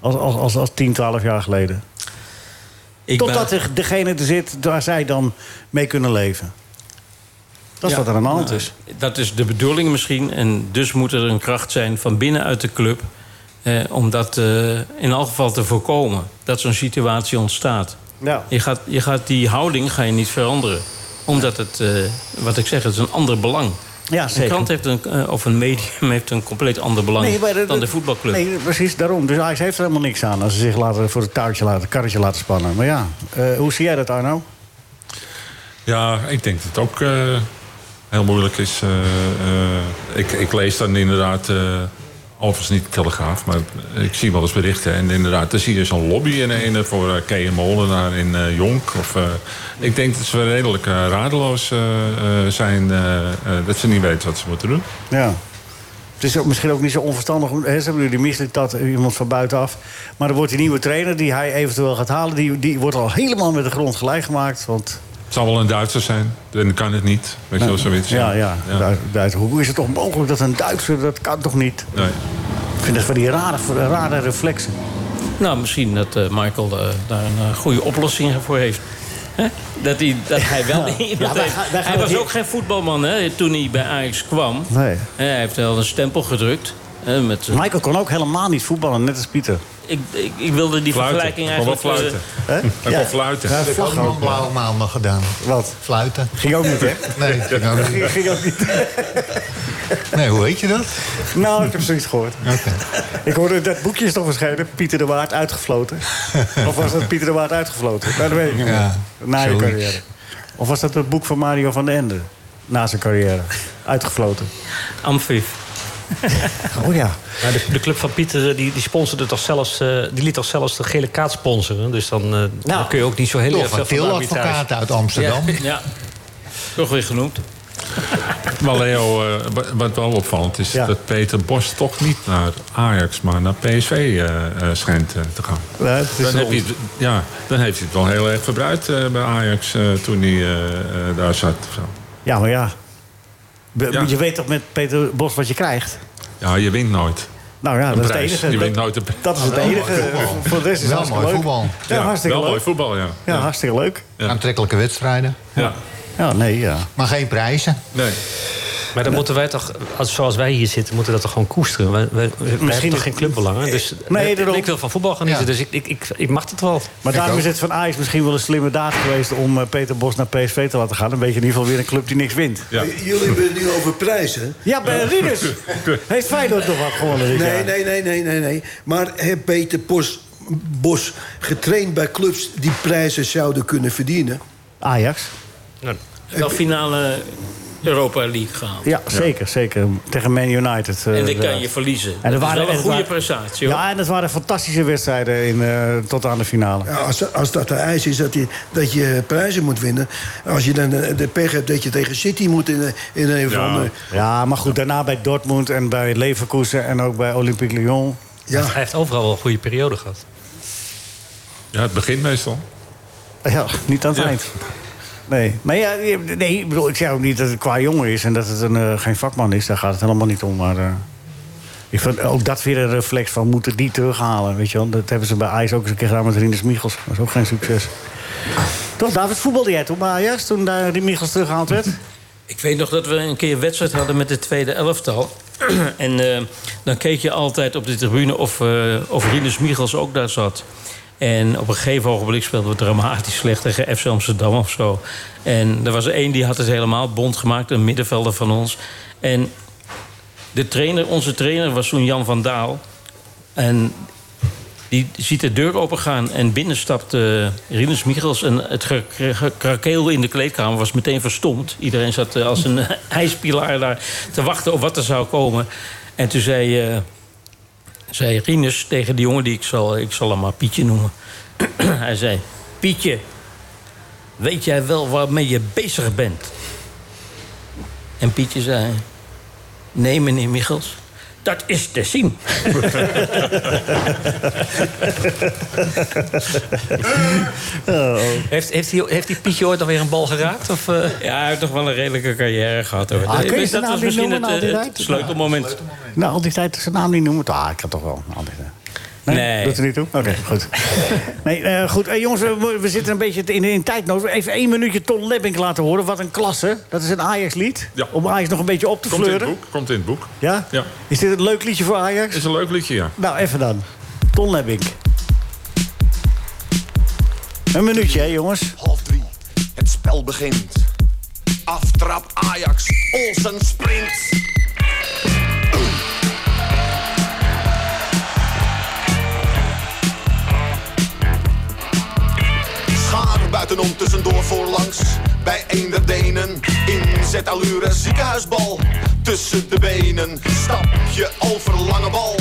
als, als, als, als 10, 12 jaar geleden. Ik Totdat er degene er zit waar zij dan mee kunnen leven. Dat is Ja, wat er aan de hand nou, is. Dat is de bedoeling misschien. En dus moet er een kracht zijn van binnenuit de club. Eh, om dat eh, in elk geval te voorkomen. Dat zo'n situatie ontstaat. Ja. Je, gaat, je gaat die houding ga je niet veranderen. Omdat het, eh, wat ik zeg, het is een ander belang. Ja, zeker. Een krant heeft een, eh, of een medium heeft een compleet ander belang maar dat- dan de voetbalclub. Nee, precies daarom. Dus Ajax heeft er helemaal niks aan als ze zich laten voor het touwtje laten, het karretje laten spannen. Maar ja, eh, hoe zie jij dat, Arno? Ja, ik denk dat het ook eh, heel moeilijk is. Eh, eh, ik, ik lees dan inderdaad, eh alvast niet de Telegraaf, maar ik zie wel eens berichten. En inderdaad, dan zie je zo'n lobby in ene voor uh, K.M. Molenaar in eh, Jonk. Of, eh, ik denk dat ze redelijk eh, radeloos eh, eh, zijn, eh, eh, dat ze niet weten wat ze moeten doen. Ja. Het is ook misschien ook niet zo onverstandig. om- Hè, ze hebben nu die misliet dat iemand van buitenaf. Maar er wordt die nieuwe trainer die hij eventueel gaat halen... die, die wordt al helemaal met de grond gelijk gemaakt. Want Nou, Het zal wel een Duitser zijn, dan kan het niet. Weet je wel, zoiets. Ja, ja. Duit- Duit- hoe is het toch mogelijk dat een Duitser... dat kan toch niet? Nee. Ik vind dat van die rare, rare reflexen. Nou, misschien dat eh, Michael eh, daar een eh, goede oplossing voor heeft. Hè? Dat, hij, dat hij wel Ja. iemand Ja, wij heeft. gaan- wij gaan Hij was hier- ook geen voetbalman hè, toen hij bij Ajax kwam. Nee. Hè, Hij heeft wel een stempel gedrukt. hè, met, eh, Michael kon ook helemaal niet voetballen, net als Pieter. ik, ik, ik wilde die vergelijking eigenlijk... eh, Hè? Hij kon fluiten. Dat heb ik ook nog blauwe maandag gedaan. Wat? Fluiten. Ging ook niet, hè? Nee, ging ook niet. Ging ook niet. Nee, hoe heet je dat? Nou, ik heb zoiets gehoord. Ik hoorde dat boekje is toch verschenen, Pieter de Waard uitgefloten. Of was dat Pieter de Waard uitgefloten? Nou, dat weet ik niet meer. Ja, Na je zoiets. carrière. Of was dat het boek van Mario van den Ende? Na zijn carrière. Uitgefloten. Amphif. Oh ja. Maar de, de club van Pieter eh, die, die sponsorde toch zelfs, eh, die liet toch zelfs de gele kaart sponsoren. Dus dan, eh, dan kun je ook niet zo heel Nou, Toch erg een veel van de tiladvocaat arbitrage. uit Amsterdam. Ja, ja. toch weer genoemd. Maar Leo, eh, wa- wat wel opvallend is dat Peter Bos toch niet naar Ajax, maar naar PSV eh, eh, schijnt eh, te gaan. Nee, het is Dan, heb wel- je het- ja, dan heeft hij het wel heel erg verbruikt eh, bij Ajax eh, toen hij eh, eh, daar zat. of zo. Ja, maar ja. Be- Je weet toch met Peter Bos wat je krijgt? Ja, je wint nooit. Nou ja, Een dat is het prijs. enige. Je Dat- wint nooit een prijs. Dat is het Wel enige. mooi voetbal. Voor- Voor de rest is het Wel hartstikke mooi leuk. voetbal. Ja, hartstikke wel leuk. mooi voetbal, ja. Ja, hartstikke leuk. Aantrekkelijke wedstrijden. Ja. Ja, nee, ja. Maar geen prijzen. Nee. Maar dan moeten wij toch, als, zoals wij hier zitten, moeten we dat toch gewoon koesteren. Wij, wij, wij hebben toch geen clubbelangen. Dus Nee, daarom. ik wil van voetbal genieten, Ja. dus ik, ik, ik, ik mag dat wel. Maar daarom is het van Ajax misschien wel een slimme daad geweest... om eh, Peter Bos naar PSV te laten gaan. Dan weet je in ieder geval weer een club die niks wint. Ja. J- Eh, Jullie hebben het nu over prijzen. Ja, bij Rieders. Heeft Feyenoord nog wat gewonnen dit Nee, jaar? nee, nee, nee, nee, nee. Maar heb Peter Bos, Bos getraind bij clubs die prijzen zouden kunnen verdienen? Ajax? Nou, wel finale Europa League gehaald. Ja, zeker, zeker. Tegen Man United. eh, En dan kan inderdaad. je verliezen. er dat waren- is wel en een er goede waren- prestatie. Hoor. Ja, en het waren fantastische wedstrijden in, eh, tot aan de finale. Ja, Als, als dat de eis is dat je, dat je prijzen moet winnen. Als je dan eh, de pech hebt dat je tegen City moet in, een- in een van de. Ja, maar goed, daarna bij Dortmund en bij Leverkusen... en ook bij Olympique Lyon. Ja, Hij heeft overal wel een goede periode gehad. ja, het begint meestal. Ja, niet aan het Ja. eind. Nee, maar ja, je- nee, ik bedoel, ik zeg ook niet dat het qua jongen is en dat het een, eh, geen vakman is. Daar gaat het helemaal niet om. Maar eh, Ik vond ook dat weer een reflex van moeten die terughalen. Weet je wel? Dat hebben ze bij IJs ook eens een keer gedaan met Rinus Michels. Dat was ook geen succes. Toch, David, voetbalde jij toen bij Ajax toen daar die Michels teruggehaald werd? Ik weet nog dat we een keer een wedstrijd hadden met de tweede elftal. en eh, dan keek je altijd op de tribune of, eh of Rinus Michels ook daar zat. En op een gegeven ogenblik speelden we dramatisch slecht tegen FC Amsterdam of zo. En er was er één die had het helemaal bond gemaakt, een middenvelder van ons. En de trainer, onze trainer was toen Jan van Daal. En die ziet de deur opengaan en binnenstapt eh Rinus Michels. En het ge- ge- ge- krakeel in de kleedkamer was meteen verstomd. Iedereen zat eh, als een ijspilaar daar te wachten op wat er zou komen. En toen zei, eh, zei Rinus tegen die jongen, die ik zal, ik zal hem maar Pietje noemen. Hij zei, Pietje, weet jij wel waarmee je bezig bent? En Pietje zei, nee meneer Michels, dat is te zien. Oh. Heeft, heeft, die, heeft die Pietje ooit alweer een bal geraakt? Of, eh? Ja, hij heeft toch wel een redelijke carrière gehad. Hoor. Ah, Dat- kun je dus zijn dat was naam niet misschien noemen, het, al die eh, het tijd? sleutelmoment. Nou, al die tijd zijn naam niet noemen. Ah, ik kan toch wel. Al die tijd. Nee, Nee. Doet er niet toe? Oké, goed. nee, eh, goed. Eh, jongens, we, mo- we zitten een beetje in, in tijdnood. Even één minuutje Ton Lebbink laten horen. Wat een klasse. Dat is een Ajax-lied. Om Ajax nog een beetje op te Komt in het fleuren. boek. Komt in het boek. Ja? Ja. Is dit een leuk liedje voor Ajax? Is een leuk liedje, ja. Nou, even dan. Ton Lebbink. Een minuutje, hè, jongens. Half drie. Het spel begint. Aftrap Ajax. Olsen springt. Schaar buitenom tussendoor voorlangs. Bij een der Denen. Inzet allure ziekenhuisbal. Tussen de benen. Stapje over lange bal.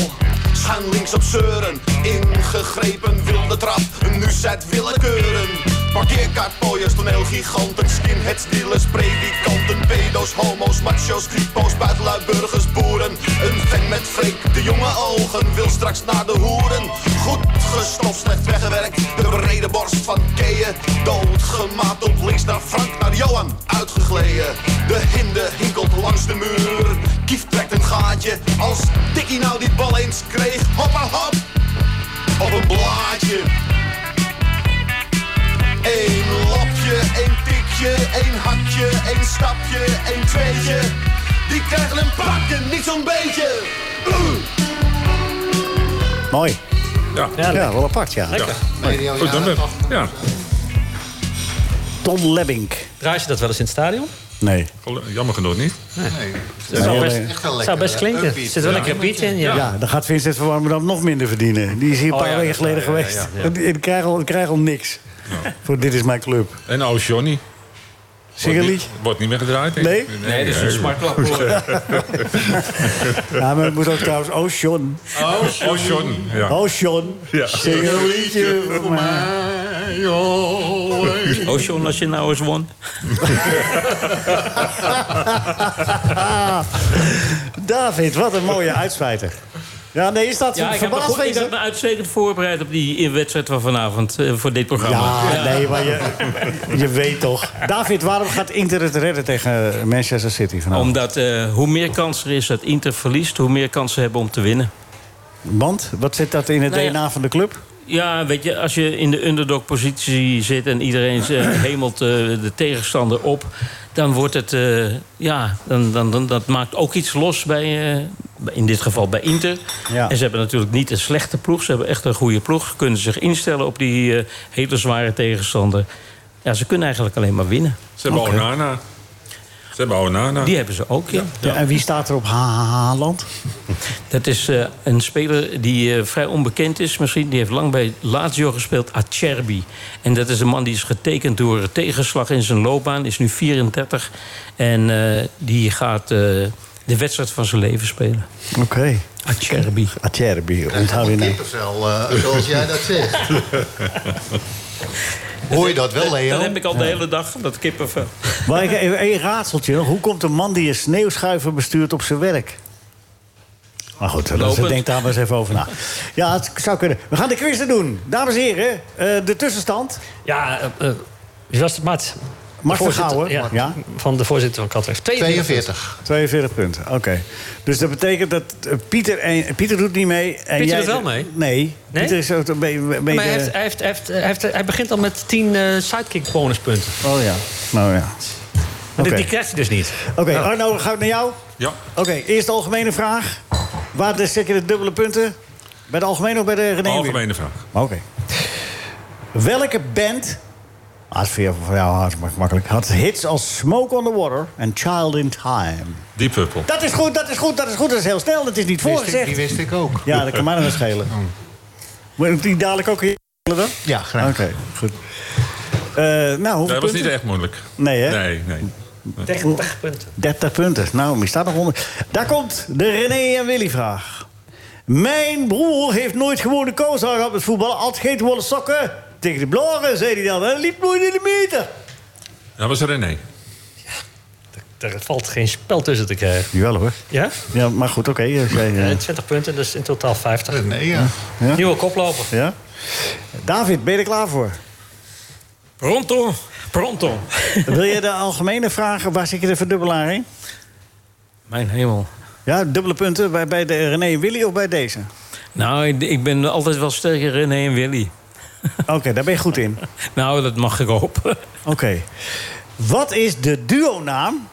Schuin links op zeuren. Ingegrepen wilde trap. Nu zet willekeuren. Parkeerkaartpooiers, toneelgiganten, skinheads, dealers, predikanten, pedo's, homo's, macho's, kripo's, buitenlui, burgers, boeren. Een fan met freak, de jonge ogen, wil straks naar de hoeren. Goed gestopt, slecht weggewerkt, de brede borst van Keeën. Doodgemaakt op links naar Frank, naar Johan, uitgegleden. De hinde hinkelt langs de muur, kief trekt een gaatje. Als Dikkie nou die bal eens kreeg, hoppa hop, op een blaadje. Eén lapje, één tikje, één hakje, één stapje, één tweetje. Die krijgen een pakje, niet zo'n beetje. Oeh. Mooi. Ja, ja, wel apart, ja. Lekker. Mooi. Goed, dan ben Ja. Ton Lebbink. Draai je dat wel eens in het stadion? Nee. Jammer genoeg niet. Nee. Het zou best- echt wel zou best klinken. Er zit wel een lekker beat in. Ja. Ja. dan gaat Vincent van Warmerdam nog minder verdienen. Die is hier een Oh, paar ja, weken dat is geleden waar, ja, geweest. ja, ja. Die- die krijgt al, die krijgt al niks. Voor Dit is mijn club. En oude Johnny. Zing een Wordt niet- liedje. Wordt niet meer gedraaid, denk Nee? ik. Nee, dat is een smartlap, hoor. ja, Ja, maar het moet ook trouwens oh, Ocean. Nou, Ocean. Ocean, ja. Ocean. Ja. Oh, Zing een liedje voor mij. Oh, John, als je nou eens won. David, wat een mooie uitsmijter. Ja, nee, is dat Ja, ik heb me, verbaasd goed, ik wezen? heb me uitzekend voorbereid op die eh, wedstrijd van vanavond eh, voor dit programma. Ja, nee, maar je, je weet toch. David, waarom gaat Inter het redden tegen Manchester City vanavond? Omdat eh, hoe meer kans er is dat Inter verliest, hoe meer kansen ze hebben om te winnen. Want, wat zit dat in het Nou ja. DNA van de club? Ja, weet je, als je in de underdog-positie zit en iedereen eh, hemelt eh, de tegenstander op, dan wordt het, eh, ja, dan, dan, dan, dat maakt ook iets los bij, eh, bij- in dit geval bij Inter. Ja. En ze hebben natuurlijk niet een slechte ploeg, ze hebben echt een goede ploeg, kunnen zich instellen op die eh, hele zware tegenstander. Ja, ze kunnen eigenlijk alleen maar winnen. Ze hebben Oké. Onana. Ze hebben Onana. Die hebben ze ook, ja. Ja, en wie staat er op Ha- Ha- Haaland? Dat is eh, een speler die eh, vrij onbekend is misschien. Die heeft lang bij Lazio gespeeld, Acerbi. En dat is een man die is getekend door een tegenslag in zijn loopbaan. Is nu 34 en eh, die gaat eh, de wedstrijd van zijn leven spelen. Oké. Acerbi. Acerbi, onthoud je nou. Kippenvel, eh, zoals jij dat zegt. Hoor je dat wel, Leo? Dat heb ik al de hele dag, dat kippenvel. nou? Maar ik- even één raadseltje nog. Hoe komt een man die een sneeuwschuiver bestuurt op zijn werk? Maar goed, dat Lopend. denk daar maar eens even over na. Ja, het zou kunnen. We gaan de quiz doen. Dames en heren, eh, de tussenstand. Ja, eh, eh, wie was het, Mats? Mart van voorzitter, Gouwen. ja, ja? Van de voorzitter van Katwijk. 42. 42 punten, oké. Dus dat betekent dat eh, Pieter, en, Pieter doet niet mee. En Pieter jij doet wel mee. Nee. Nee? Pieter is ook een beetje... een Maar hij, beetje- heeft, hij, heeft, hij, heeft, hij, heeft- hij begint al met 10 sidekick bonuspunten. Oh ja. Nou ja. Maar dit- Oké. die krijgt hij dus niet. Oké, Arno, ga ik naar jou. Ja. Oké, eerst de algemene vraag. Waar de- zet je de dubbele punten? Bij de algemene of bij de René? Algemene. Algemene vraag. Oké. Welke band... Ah, dat is voor jou- voor jou hartstikke makkelijk. Had hits als Smoke on the Water en Child in Time. Deep Purple. Dat is goed, dat is goed, dat is goed. Dat is heel snel, dat is niet voorgezegd. Die wist ik ook. Oh. Ja, dat kan mij dan wel schelen. Moet ik die dadelijk ook hier dan? Ja, graag. Oké, goed. Eh, nou, hoeveel Dat was punten? niet echt moeilijk. Nee, hè? Nee, nee. 30 punten. 30 punten. Nou, wie staat nog onder? Daar komt de René en Willy vraag. Mijn broer heeft nooit gewone koos aan gehad met voetballen. Altijd geen wollen sokken. Tegen de bloren, zei hij dan. En liep nooit in de meter. Dat was René. Er valt geen spel tussen te krijgen. Jawel hoor. Ja? Ja, maar goed, oké. eh, zei, eh, Eh, 20 punten, dus in totaal 50. Eh, Nee, ja. Ja? Nieuwe koploper. ja? David, ben je er klaar voor? Pronto, pronto. Wil je de algemene vragen? Waar zit je de verdubbelaar in? Mijn hemel. Ja, dubbele punten bij, bij de René en Willy of bij deze? Nou, ik, ik ben altijd wel sterker René en Willy. Oké, daar ben je goed in. Nou, dat mag ik hopen. Oké. Wat is de duonaam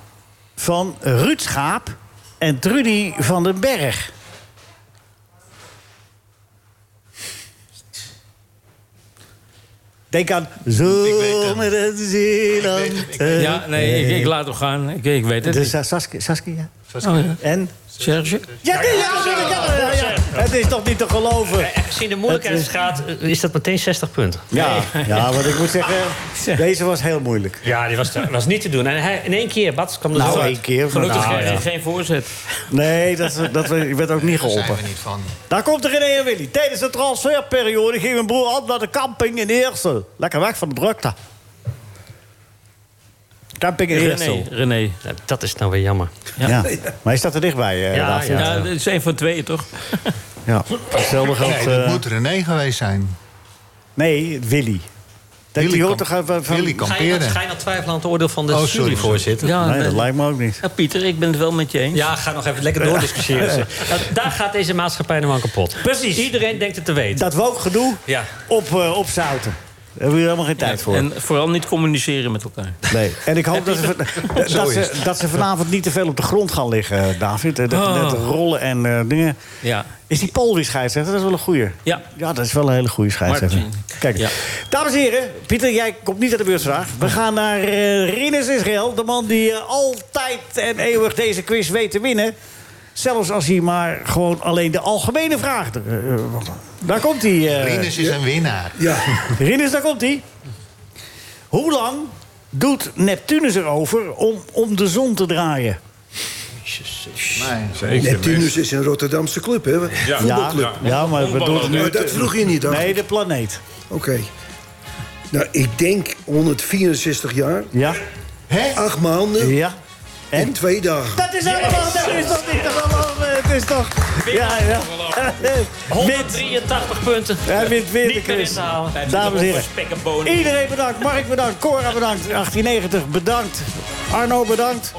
van Ruud Schaap en Trudy van den Berg? Denk aan zomer en Zeeland. Ja, nee, ik, ik laat hem gaan. Ik, ik weet het Dus niet. Sa- Saskia, Saskia. Oh, ja. En? Serge? Ja, die- ja, natuurlijk, ja, ja, ja. Het is toch niet te geloven? Gezien Eh, de moeilijkheidsgraad eh, is dat meteen 60 punten. Ja, ja, want ik moet zeggen, deze was heel moeilijk. Ja, die was, eh, was niet te doen. En hij, in één keer, Bats kwam er Nou, zo uit. één keer. Gelukkig Nou, geen, ja. geen voorzet. Nee, dat, dat werd ook niet Daar zijn geholpen. we niet van. Daar komt de René en Willy. Tijdens de transferperiode ging mijn broer altijd naar de camping in Eersel. Lekker weg van de drukte. Camping in René, Eersel. René. Nou, Dat is nou weer jammer. Ja. Maar hij staat er dichtbij. eh, Ja, David. Ja, dat is één van twee, toch? Ja. Hetzelfde Nee, geldt... dat eh, moet René geweest zijn. nee, Willy. Dat Willy die hoort kan- toch even van... Willy Ga je, kamperen. ga je nou twijfelen aan het oordeel van de Oh, sorry, juryvoorzitter? Ja, Nee, dat nee. lijkt me ook niet. Ja, Pieter, ik ben het wel met je eens. Ja, ga nog even lekker doordiscussiëren. zeg. Nou, daar gaat deze maatschappij nou aan kapot. Precies. Iedereen denkt het te weten. Dat wookgedoe Ja. op, eh, opzouten. Daar hebben we helemaal geen tijd voor. En vooral niet communiceren met elkaar. Nee. En ik hoop dat ze, dat, ze, dat ze vanavond niet te veel op de grond gaan liggen, David. Eh, Dat, Oh. dat rollen en eh, dingen. Ja. Is die Paul weer scheidsrechter? Dat is wel een goeie. Ja. Ja, dat is wel een hele goede scheidsrechter. Martin. Kijk, Ja. dames en heren, Pieter, jij komt niet aan de beursvraag. We gaan naar eh Rinus Israël, de man die eh, altijd en eeuwig deze quiz weet te winnen. Zelfs als hij maar gewoon alleen de algemene vraag... eh, eh, daar komt hij. eh, Rinus is een winnaar. Ja, Rinus, daar komt hij. Hoe lang doet Neptunus erover om om de zon te draaien? Nee. Zeker. Neptunus is een Rotterdamse club, hè? Ja. Ja, Voetbalclub. ja maar we doen het nu... Maar dat vroeg je niet, dacht ik. Nee, de planeet. Oké. Nou, ik denk 164 jaar, Ja? acht maanden Ja? en twee dagen. Dat is allemaal... Dat is toch niet toch allemaal... eh, Het is toch... Ja, ja. Wit. 183 punten. Hij wint weer de Niet meer in quiz. te halen. Dames en heren. Spek en bonen. Iedereen bedankt. Mark bedankt. Cora bedankt. 1890 bedankt. Arno bedankt.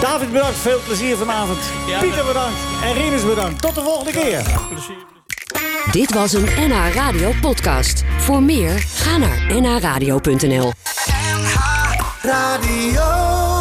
David bedankt. Veel plezier vanavond. Pieter bedankt. En Rinus bedankt. Tot de volgende keer. Dit was een NH Radio podcast. Voor meer, ga naar nhradio.nl. Radio.